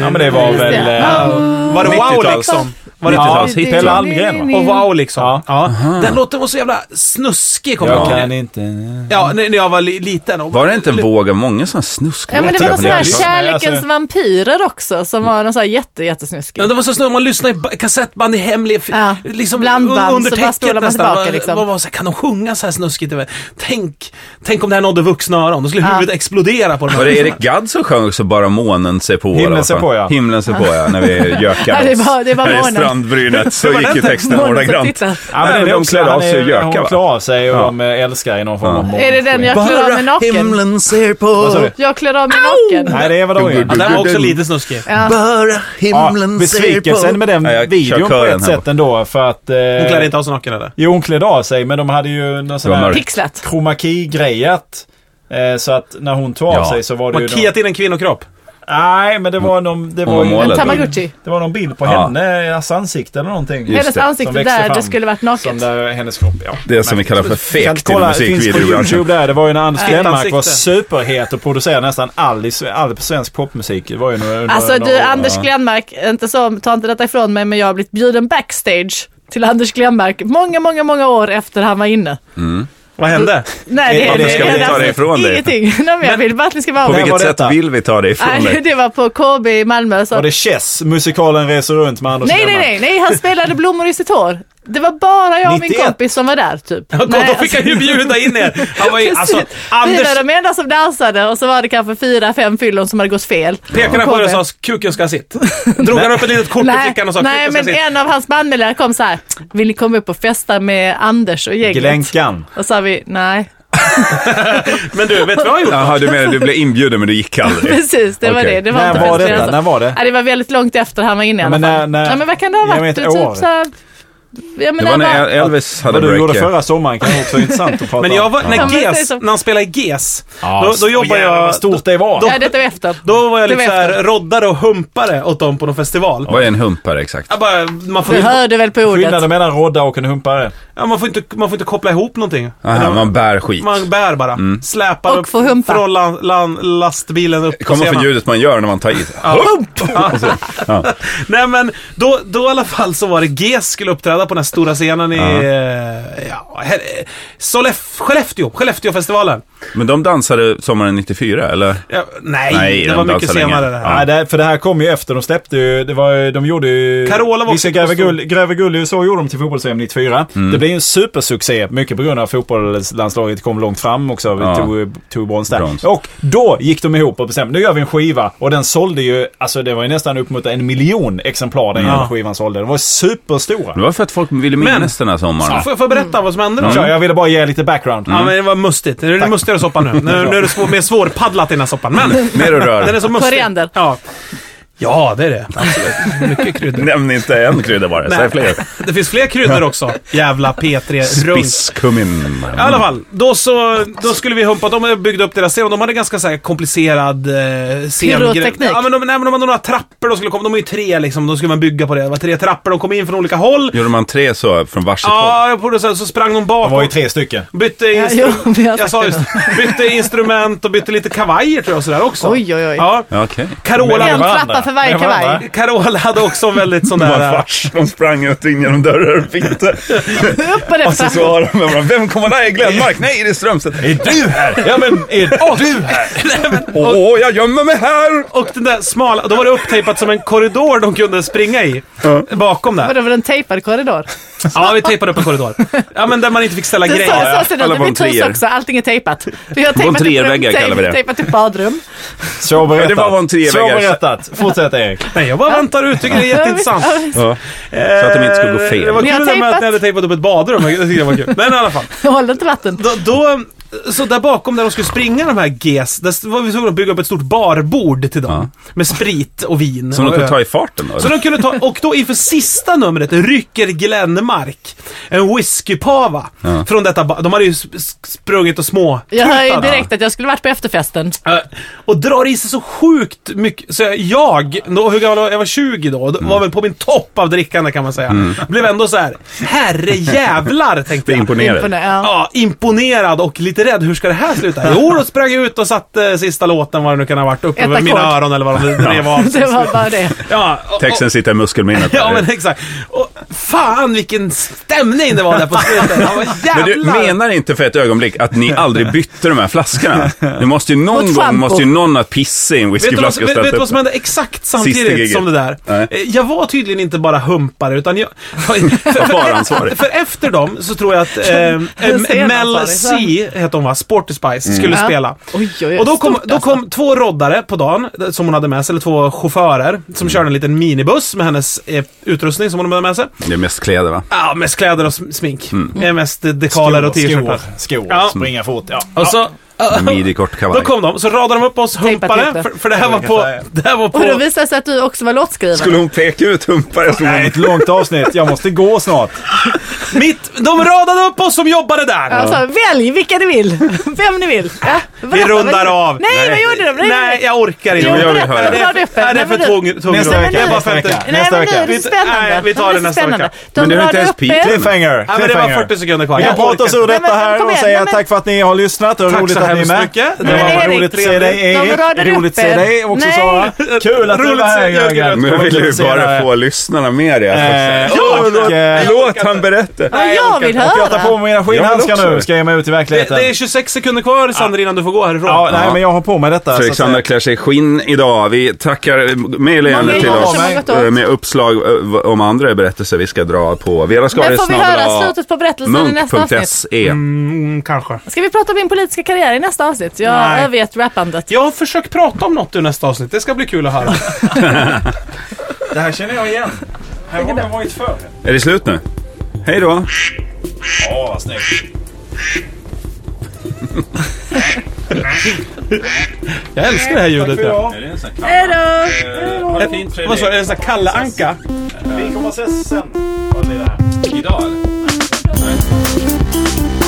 Speaker 2: men det var
Speaker 4: Just det.
Speaker 2: väl... eh,
Speaker 1: Var det wow
Speaker 3: 90-tals.
Speaker 1: liksom?
Speaker 3: Var det
Speaker 2: Ja,
Speaker 3: 90-talshit?
Speaker 2: Pelle
Speaker 3: va?
Speaker 2: Almgren va?
Speaker 1: Och wow liksom.
Speaker 2: Ja.
Speaker 1: Ja. Den låten var så jävla snuskig kommer
Speaker 2: Jag
Speaker 1: jag
Speaker 2: kan
Speaker 1: ihåg.
Speaker 2: inte...
Speaker 1: Ja, när när jag var li- liten. Och
Speaker 3: Var det inte Våga många sådana snusklåtar?
Speaker 4: Ja, men det var någon sån här
Speaker 2: Jävligt.
Speaker 4: kärlekens
Speaker 2: Alltså-
Speaker 4: vampyrer också som var någon sån här jätte, jättesnuskig.
Speaker 1: Ja, det var så snö, man lyssnade i ba- kassettband i hemlig... f-
Speaker 4: Ja.
Speaker 1: Liksom
Speaker 4: Blandband,
Speaker 1: un- under
Speaker 4: så bara
Speaker 1: täcket
Speaker 4: spolar man
Speaker 1: nästan.
Speaker 4: tillbaka,
Speaker 1: Man-
Speaker 4: liksom.
Speaker 1: man var så här, kan de sjunga så här snuskigt? Tänk, tänk om det här nådde vuxna öron. Då skulle
Speaker 4: Ja.
Speaker 1: huvudet explodera på de här
Speaker 3: Var det
Speaker 1: vuxna.
Speaker 3: Erik Gadd som sjöng så bara månen ser på?
Speaker 2: Himlen
Speaker 3: eller vad
Speaker 2: ser
Speaker 3: fan?
Speaker 2: på, ja.
Speaker 3: Himlen ser på ja, när vi
Speaker 4: Ja,
Speaker 3: gökade
Speaker 4: det
Speaker 3: oss.
Speaker 4: var- det var
Speaker 3: Här
Speaker 4: månen.
Speaker 3: I strandbrynet så
Speaker 1: var
Speaker 3: gick ju
Speaker 1: den-
Speaker 3: texten
Speaker 4: Månen som
Speaker 3: ordagrant.
Speaker 4: tittar.
Speaker 2: Ja, men det är
Speaker 3: de
Speaker 2: också-
Speaker 3: klädde
Speaker 2: han
Speaker 3: av sig
Speaker 2: är-
Speaker 3: och gökade
Speaker 2: Hon
Speaker 3: va?
Speaker 2: klär av sig och de eh, älskar i någon form av
Speaker 4: Är det den jag klär av mig naken?
Speaker 3: ser på.
Speaker 2: Vad sa du?
Speaker 4: Jag klär av mig naken.
Speaker 2: Nej, det är vad de
Speaker 1: Ja,
Speaker 2: är.
Speaker 1: den var också lite snuskig.
Speaker 3: Bara
Speaker 2: Ja, besvikelsen med den
Speaker 3: Ja, jag kör
Speaker 2: videon på
Speaker 3: kören
Speaker 2: ett
Speaker 3: här
Speaker 2: sätt
Speaker 3: borta.
Speaker 2: ändå för att... eh,
Speaker 1: Hon klär inte av sig naken eller?
Speaker 2: Jo, hon klädde av sig men de hade ju någon sån
Speaker 3: var
Speaker 2: här
Speaker 3: mörkt.
Speaker 4: Pixlat.
Speaker 2: kromaki-grejat. Eh, Så att när hon tog av
Speaker 3: Ja. Mm.
Speaker 2: sig så var det
Speaker 1: Man
Speaker 2: ju...
Speaker 1: kiat in en kvinnokropp.
Speaker 2: någon- Nej, men det var någon... Det var,
Speaker 3: var
Speaker 2: ju-
Speaker 3: målet.
Speaker 4: En tamagotchi.
Speaker 2: det var någon bild på
Speaker 3: Ja.
Speaker 2: henne, hennes ansikte eller någonting.
Speaker 3: Just
Speaker 4: Hennes
Speaker 3: det,
Speaker 2: Som
Speaker 4: ansikte
Speaker 2: växte
Speaker 4: där, det
Speaker 2: fram.
Speaker 4: skulle varit
Speaker 2: Som
Speaker 4: naket.
Speaker 2: där, hennes kropp, ja.
Speaker 3: Det som vi kallar för
Speaker 2: Kan
Speaker 3: fekt inom
Speaker 2: kolla, finns på
Speaker 3: musikvideobranschen.
Speaker 2: YouTube där. Det var ju när Anders
Speaker 1: Äh,
Speaker 2: Glenmark
Speaker 1: ansikte.
Speaker 2: var superhet och producerade nästan all, i, all svensk popmusik. Det var ju några, under-
Speaker 4: Alltså
Speaker 2: några
Speaker 4: du
Speaker 2: år.
Speaker 4: Anders Glenmark, inte så, ta inte detta ifrån mig men jag har blivit bjuden backstage till Anders Glenmark många, många, många år efter han var inne.
Speaker 1: Vad hände?
Speaker 4: Nej, det,
Speaker 2: Vad
Speaker 4: det,
Speaker 2: ska vi
Speaker 4: det-
Speaker 3: ta det ifrån dig?
Speaker 4: Ingenting. Nej, men jag vill bara att ni ska vara
Speaker 3: På
Speaker 2: Vem
Speaker 4: med.
Speaker 2: var
Speaker 3: vilket sätt
Speaker 2: detta?
Speaker 3: vill vi ta det ifrån
Speaker 4: Nej,
Speaker 3: dig?
Speaker 4: det var på KB i Malmö. Så
Speaker 2: Var det Chess? Musikalen reser runt med Anders
Speaker 4: nej, nej,
Speaker 2: Lennart.
Speaker 4: nej, nej, han spelade blommor i sitt hår. Det var bara jag och min
Speaker 2: 91.
Speaker 4: kompis som var där typ.
Speaker 1: Ja, kom,
Speaker 4: Nej,
Speaker 1: då fick han ju bjuda in er. Han var ju, alltså,
Speaker 4: Precis.
Speaker 1: Anders
Speaker 4: Vi var de enda som dansade och så var det kanske fyra, fem fyllon som hade gått fel.
Speaker 1: pekade på
Speaker 4: Och kom
Speaker 1: det och
Speaker 4: med.
Speaker 1: sa kuken ska ha sitt. Drog han upp ett litet kort i
Speaker 4: Nej,
Speaker 1: fickan och sa
Speaker 4: nej
Speaker 1: kuken ska ha
Speaker 4: men
Speaker 1: sitt.
Speaker 4: en av hans bandmedlemmar kom så här. Vill ni komma upp och festa med Anders och gänget?
Speaker 2: Glänkan.
Speaker 4: Och så sa vi nej.
Speaker 1: Men du, vet du vad jag har gjort?
Speaker 3: Jaha, du menar du blev inbjuden men du gick aldrig?
Speaker 4: Precis, det var
Speaker 3: Okej.
Speaker 4: det. Det var
Speaker 2: När
Speaker 4: inte
Speaker 2: var
Speaker 4: fest,
Speaker 2: detta?
Speaker 4: alltså.
Speaker 2: När var det?
Speaker 4: Ja, det var väldigt långt efter han var inne i
Speaker 2: Ja,
Speaker 4: alla
Speaker 2: men
Speaker 4: fall.
Speaker 2: när- när-
Speaker 4: ja, men vad kan det ha
Speaker 2: Jag
Speaker 4: varit?
Speaker 2: vet
Speaker 4: Typ
Speaker 2: år.
Speaker 4: så här, ja, men
Speaker 3: Det var
Speaker 4: när
Speaker 3: när Elvis hade
Speaker 2: Vad du gjorde
Speaker 3: break.
Speaker 2: förra sommaren kan också vara intressant att prata
Speaker 1: Men jag var, Oh,
Speaker 2: om.
Speaker 1: när,
Speaker 4: Ja, men det är
Speaker 1: GES,
Speaker 4: så.
Speaker 1: när han spelade i GES,
Speaker 2: Ja,
Speaker 1: då,
Speaker 2: så
Speaker 1: då jobbade
Speaker 2: jävlar
Speaker 1: jag...
Speaker 2: vad stort det var.
Speaker 4: Ja, detta var efter.
Speaker 1: Då var jag
Speaker 4: Det
Speaker 1: lite
Speaker 4: efter.
Speaker 1: såhär roddare och humpare åt dem på någon festival.
Speaker 3: Vad är en humpare exakt?
Speaker 1: Jag bara, man, får
Speaker 4: Du
Speaker 1: inte,
Speaker 4: hörde väl på ordet?
Speaker 2: Skillnaden mellan rodda och en humpare.
Speaker 1: ja, man, får inte, man får inte koppla ihop någonting.
Speaker 3: Aha, man bär skit.
Speaker 1: Man bär bara.
Speaker 3: Mm.
Speaker 1: Släpar
Speaker 4: Och
Speaker 1: upp
Speaker 4: får humpa.
Speaker 1: från lan, lan, lastbilen upp
Speaker 3: Det kommer
Speaker 1: scenen.
Speaker 3: från ljudet man gör när man tar i sig.
Speaker 1: Nej men, då, då i alla fall så var det GES skulle uppträda på den här stora scenen i... eh, Ja, här, eh, Sollef, Skellefteå, Skellefteåfestivalen.
Speaker 3: Men de dansade sommaren 94 eller?
Speaker 1: Ja, nej,
Speaker 3: Nej,
Speaker 1: det
Speaker 3: de
Speaker 1: var mycket
Speaker 3: dansade länge.
Speaker 1: senare det här.
Speaker 3: Ja.
Speaker 2: Nej, det, för det här kom ju efter. De släppte ju, det var, ju- de gjorde ju...
Speaker 1: Carola var
Speaker 2: Vissa
Speaker 1: också på
Speaker 2: Gräver
Speaker 1: stor.
Speaker 2: Gull, Gräver Gull i USA gjorde de till fotbolls 94. Det blev ju en supersuccé, mycket på grund av att fotbollslandslaget kom långt fram också. Vi
Speaker 3: Ja.
Speaker 2: tog, tog brons där.
Speaker 3: Brons.
Speaker 2: Och då gick de ihop och bestämde, nu gör vi en skiva. Och den sålde ju, alltså det var ju nästan upp mot en miljon exemplar den
Speaker 1: Ja.
Speaker 2: skivan sålde. Den var superstora.
Speaker 3: Det var för att folk ville minnas den Mm. här sommaren.
Speaker 1: Får, jag- får jag berätta vad som hände då?
Speaker 2: Kör, jag ville bara ge lite background.
Speaker 3: Mm.
Speaker 1: Ja, men det var mustigt. Nu är det mustigare soppa nu. Nu, nu är det svår, mer svårpaddlat i den här soppan. Men
Speaker 3: Mer att
Speaker 1: den är
Speaker 3: röra.
Speaker 1: så mustig.
Speaker 4: Koriander.
Speaker 1: Ja. ja, det är det.
Speaker 3: Nämn inte en krydda bara, säg
Speaker 1: Nej.
Speaker 3: fler.
Speaker 1: Det finns fler kryddor också. Jävla P3 runt.
Speaker 3: Spisskummin.
Speaker 1: I alla fall, då, så, då skulle vi humpa. De byggde upp deras scen och de hade ganska så här, komplicerad eh, scen.
Speaker 4: Pyroteknik.
Speaker 1: Ja, men de, nej, men de hade några trappor de skulle komma. De var ju tre liksom. Då skulle man bygga på det. Det var tre trappor. De kom in från olika håll.
Speaker 3: Gjorde man tre så från varsitt håll?
Speaker 1: Ja, på det, så, så sprang de
Speaker 2: Det var ju
Speaker 1: bakåt.
Speaker 2: tre stycken.
Speaker 1: Bytte,
Speaker 4: jo,
Speaker 1: instru-
Speaker 4: vi har
Speaker 1: jag
Speaker 4: sagt
Speaker 1: sa
Speaker 4: det
Speaker 1: just, bytte instrument och bytte lite kavajer tror jag och sådär också.
Speaker 4: Oj, oj, oj.
Speaker 1: Ja.
Speaker 3: Ja, Okej.
Speaker 1: Carola,
Speaker 4: En
Speaker 2: Mellan varandra.
Speaker 4: trappa för varje
Speaker 2: Mellan varandra.
Speaker 4: kavaj.
Speaker 1: Carola hade också en väldigt sån
Speaker 3: Det var en
Speaker 1: där...
Speaker 3: fars som sprang ut in genom dörrar och finter.
Speaker 4: Upp på det
Speaker 3: Och så
Speaker 4: för-
Speaker 3: svarade de med varandra, Vem kommer där? Är Glenmark? Nej, det är Strömstedt. Är du här?
Speaker 2: Ja men är du här?
Speaker 3: Åh, jag gömmer mig här!
Speaker 1: Och den där smala... Då var det upptejpat som en korridor de kunde springa i. Bakom där.
Speaker 4: Vadå, var det en tejpad korridor?
Speaker 1: Ja, vi tejpade upp en korridor. Ja, men där man inte fick ställa
Speaker 4: Det är
Speaker 1: grejer.
Speaker 4: så, så ser det
Speaker 3: Alla
Speaker 4: ut i mitt hus
Speaker 3: Bontrier.
Speaker 4: också. Allting är tejpat. Vi har
Speaker 3: Von
Speaker 4: tejpat upp rum,
Speaker 3: Trier-väggar kallar vi det.
Speaker 4: tejp- tejpat upp badrum.
Speaker 2: Så berättat.
Speaker 3: Ja, det var bara en treväggare.
Speaker 2: Så berättat. Fortsätt Erik.
Speaker 1: Nej, jag bara väntar ut. Tycker det är jätteintressant. Eh,
Speaker 3: Ja. Så att de inte skulle gå
Speaker 1: Det var
Speaker 3: fel.
Speaker 4: Ni
Speaker 1: kul
Speaker 4: har
Speaker 1: det med att
Speaker 4: tejpat.
Speaker 1: ni hade tejpat upp ett badrum. Jag tyckte det var kul. Men i alla fall.
Speaker 4: Håller inte vatten.
Speaker 1: Då, då, så där bakom där de skulle springa de här GES, där var vi tvungna att bygga upp ett stort barbord till dem. Med sprit och vin.
Speaker 3: Som de
Speaker 1: och
Speaker 3: kunde
Speaker 1: öl.
Speaker 3: ta i farten då?
Speaker 1: Så de kunde ta, och då inför sista numret rycker Glenmark en whiskypava från detta ba- De hade ju sp- sprungit och små
Speaker 4: Jag hör ju
Speaker 1: krutat.
Speaker 4: direkt att jag skulle varit på efterfesten.
Speaker 1: Eh, Och drar i sig så sjukt mycket. Så jag- jag, då, hur gammal var jag? Jag var 20 då.
Speaker 3: Mm.
Speaker 1: och Var väl på min topp av drickande kan man säga. Blev ändå så här. herre jävlar tänkte
Speaker 3: Det är
Speaker 1: jag.
Speaker 4: På
Speaker 3: imponerande.
Speaker 4: nä- ja.
Speaker 1: Ja, imponerad och lite rädd. Hur ska det här sluta? Jo, då sprang jag ut och satte sista låten, vad det nu kan ha varit, upp
Speaker 4: Ett
Speaker 1: över mina
Speaker 4: ackord.
Speaker 1: öron eller vad de drev av.
Speaker 4: Det var bara det.
Speaker 1: Ja, och-
Speaker 3: Texten sitter i muskelminnet.
Speaker 1: Ja men exakt. Och fan vilken stämning det var där på slutet. Han var jävlar.
Speaker 3: Men du menar inte för ett ögonblick att ni aldrig bytte de här flaskorna? Det måste ju någon gång
Speaker 4: Mot schampo.
Speaker 3: måste ju någon ha pissat i en
Speaker 1: Vet du, vad,
Speaker 3: whiskyflaska och
Speaker 1: vet, vet
Speaker 3: ställt
Speaker 1: du vad
Speaker 3: upp
Speaker 1: som
Speaker 3: den.
Speaker 1: hände exakt
Speaker 3: Sista
Speaker 1: samtidigt
Speaker 3: giget.
Speaker 1: som det där?
Speaker 3: Nej.
Speaker 1: Eh, Jag var tydligen inte bara humpare utan jag... För,
Speaker 3: Bara ansvarig.
Speaker 1: för efter dem så tror jag att eh,
Speaker 4: Den
Speaker 1: eh,
Speaker 4: scenen,
Speaker 1: Mel C,
Speaker 4: sorry.
Speaker 1: heter hon va? Sporty Spice,
Speaker 3: Mm.
Speaker 1: skulle
Speaker 4: Ja.
Speaker 1: spela.
Speaker 4: Oj, oj, oj.
Speaker 1: Och då kom,
Speaker 4: Stort alltså.
Speaker 1: då kom två roddare på dagen eh, som hon hade med sig, eller två chaufförer som
Speaker 4: Mm.
Speaker 1: körde en liten minibuss med hennes eh, utrustning som hon hade med sig.
Speaker 3: Det är mest kläder va?
Speaker 1: Ja, mest kläder och sm- smink.
Speaker 4: Mm.
Speaker 1: Eh, Mest eh, dekaler och
Speaker 2: skor,
Speaker 1: t-shirtar.
Speaker 2: skor,
Speaker 1: Ja.
Speaker 2: springa fort. Ja.
Speaker 1: Och så,
Speaker 3: Midjekort
Speaker 1: då
Speaker 3: kavaj.
Speaker 1: kom de, så radade de upp oss
Speaker 4: Tejpat ihop
Speaker 1: humpare,
Speaker 4: det.
Speaker 1: för, för det här var på... Det här var på
Speaker 4: Och då visade det sig att du också var låtskrivare.
Speaker 3: Skulle hon peka ut humpare som
Speaker 2: Nej,
Speaker 3: hon...
Speaker 2: ett långt avsnitt. Jag måste gå snart.
Speaker 1: mitt, de radade upp oss som jobbade där!
Speaker 4: Jag sa, Alltså, välj vilka ni vill. Vem ni vill. Ja,
Speaker 1: Vi
Speaker 4: berätta, vad
Speaker 1: rundar
Speaker 4: ni-
Speaker 1: av.
Speaker 4: Nej, vad gjorde de? Nej,
Speaker 1: Nej,
Speaker 4: nej.
Speaker 1: jag orkar inte.
Speaker 3: Jo, jag vill
Speaker 4: berätta,
Speaker 3: höra.
Speaker 4: vad radade upp
Speaker 1: Nej, det är
Speaker 4: Nej,
Speaker 1: för
Speaker 4: men
Speaker 1: tung, tung
Speaker 2: Nästa
Speaker 1: runda.
Speaker 2: vecka,
Speaker 1: Jag bara
Speaker 2: nästa
Speaker 1: femte.
Speaker 2: vecka.
Speaker 4: Nej,
Speaker 2: Nästa
Speaker 4: men nu
Speaker 2: vecka.
Speaker 4: är det spännande.
Speaker 1: Nej, vi tar det
Speaker 4: Nu är
Speaker 1: nästa
Speaker 4: spännande.
Speaker 1: vecka.
Speaker 4: De
Speaker 3: Men det har inte ens
Speaker 4: radade upp en-
Speaker 3: peak.
Speaker 2: Cliffhanger.
Speaker 1: Ja, men det var
Speaker 2: cliffhanger.
Speaker 1: 40 sekunder kvar.
Speaker 2: Vi kan
Speaker 1: Jag
Speaker 2: prata
Speaker 1: orkar
Speaker 2: oss
Speaker 1: inte.
Speaker 2: ur
Speaker 4: Nej,
Speaker 2: detta
Speaker 4: men-
Speaker 2: här
Speaker 4: kom
Speaker 2: och
Speaker 4: igen,
Speaker 2: säga
Speaker 4: nej, men-
Speaker 2: tack för att ni har lyssnat. Det var
Speaker 1: Tack
Speaker 2: roligt
Speaker 1: så
Speaker 2: att ni är
Speaker 1: hemskt
Speaker 2: med.
Speaker 1: mycket.
Speaker 2: Det
Speaker 1: Nej,
Speaker 4: men
Speaker 2: var
Speaker 4: Erik,
Speaker 2: roligt att se dig
Speaker 4: de
Speaker 2: Erik.
Speaker 4: radar upp
Speaker 2: Roligt att se
Speaker 4: er.
Speaker 2: dig också
Speaker 4: Nej.
Speaker 2: Sara. Kul att du
Speaker 1: Roligt
Speaker 2: var
Speaker 1: att
Speaker 2: här
Speaker 1: se- jag
Speaker 2: Jörgen.
Speaker 1: tycker att-
Speaker 3: Men jag
Speaker 2: Roligt
Speaker 3: vill
Speaker 2: att se
Speaker 3: ju
Speaker 2: dig.
Speaker 3: bara få lyssnarna med i det.
Speaker 2: Eh,
Speaker 3: här.
Speaker 2: ja, Och, eh,
Speaker 3: Låt han berätta.
Speaker 4: Vad jag vill
Speaker 2: och jag tar på
Speaker 4: höra.
Speaker 2: mig mina
Speaker 3: Jag vill
Speaker 2: skinnhandskar
Speaker 3: också.
Speaker 2: nu. Ska jag ge mig ut i
Speaker 1: Det,
Speaker 2: verkligheten.
Speaker 1: det är 26 sekunder kvar Sander innan du får gå härifrån.
Speaker 2: Ja, nej,
Speaker 3: Ja.
Speaker 2: men jag har på mig detta.
Speaker 3: Så
Speaker 2: så att säga.
Speaker 3: Alexander klär sig i skinn idag. Vi tackar mejl
Speaker 4: Många
Speaker 3: igen till
Speaker 4: gånger
Speaker 3: oss
Speaker 4: som har gått
Speaker 3: eh,
Speaker 4: åt.
Speaker 3: med uppslag eh, v- om andra berättelser vi ska dra på
Speaker 4: Men får vi höra slutet
Speaker 3: velaskaris.munk.se.
Speaker 4: på berättelsen i nästa avsnitt?
Speaker 3: E.
Speaker 1: Mm, kanske.
Speaker 4: Ska vi prata om min politiska karriär i nästa avsnitt? Jag
Speaker 1: Nej.
Speaker 4: övergett rappandet.
Speaker 1: Jag har försökt prata om något i nästa avsnitt. Det ska bli kul att höra.
Speaker 2: Det här känner jag igen. Här har jag varit förr.
Speaker 3: Är det slut nu? Hej då!
Speaker 2: Åh, vad snyggt.
Speaker 1: Jag älskar det här ljudet. ja.
Speaker 2: Idag.
Speaker 4: Hej då!
Speaker 2: Ha det fint
Speaker 1: Vad
Speaker 2: Fredrik.
Speaker 1: sa du? Är det en sån här Kalle Anka?
Speaker 2: Vi kommer ses sen. Vad blir det här? Idag eller?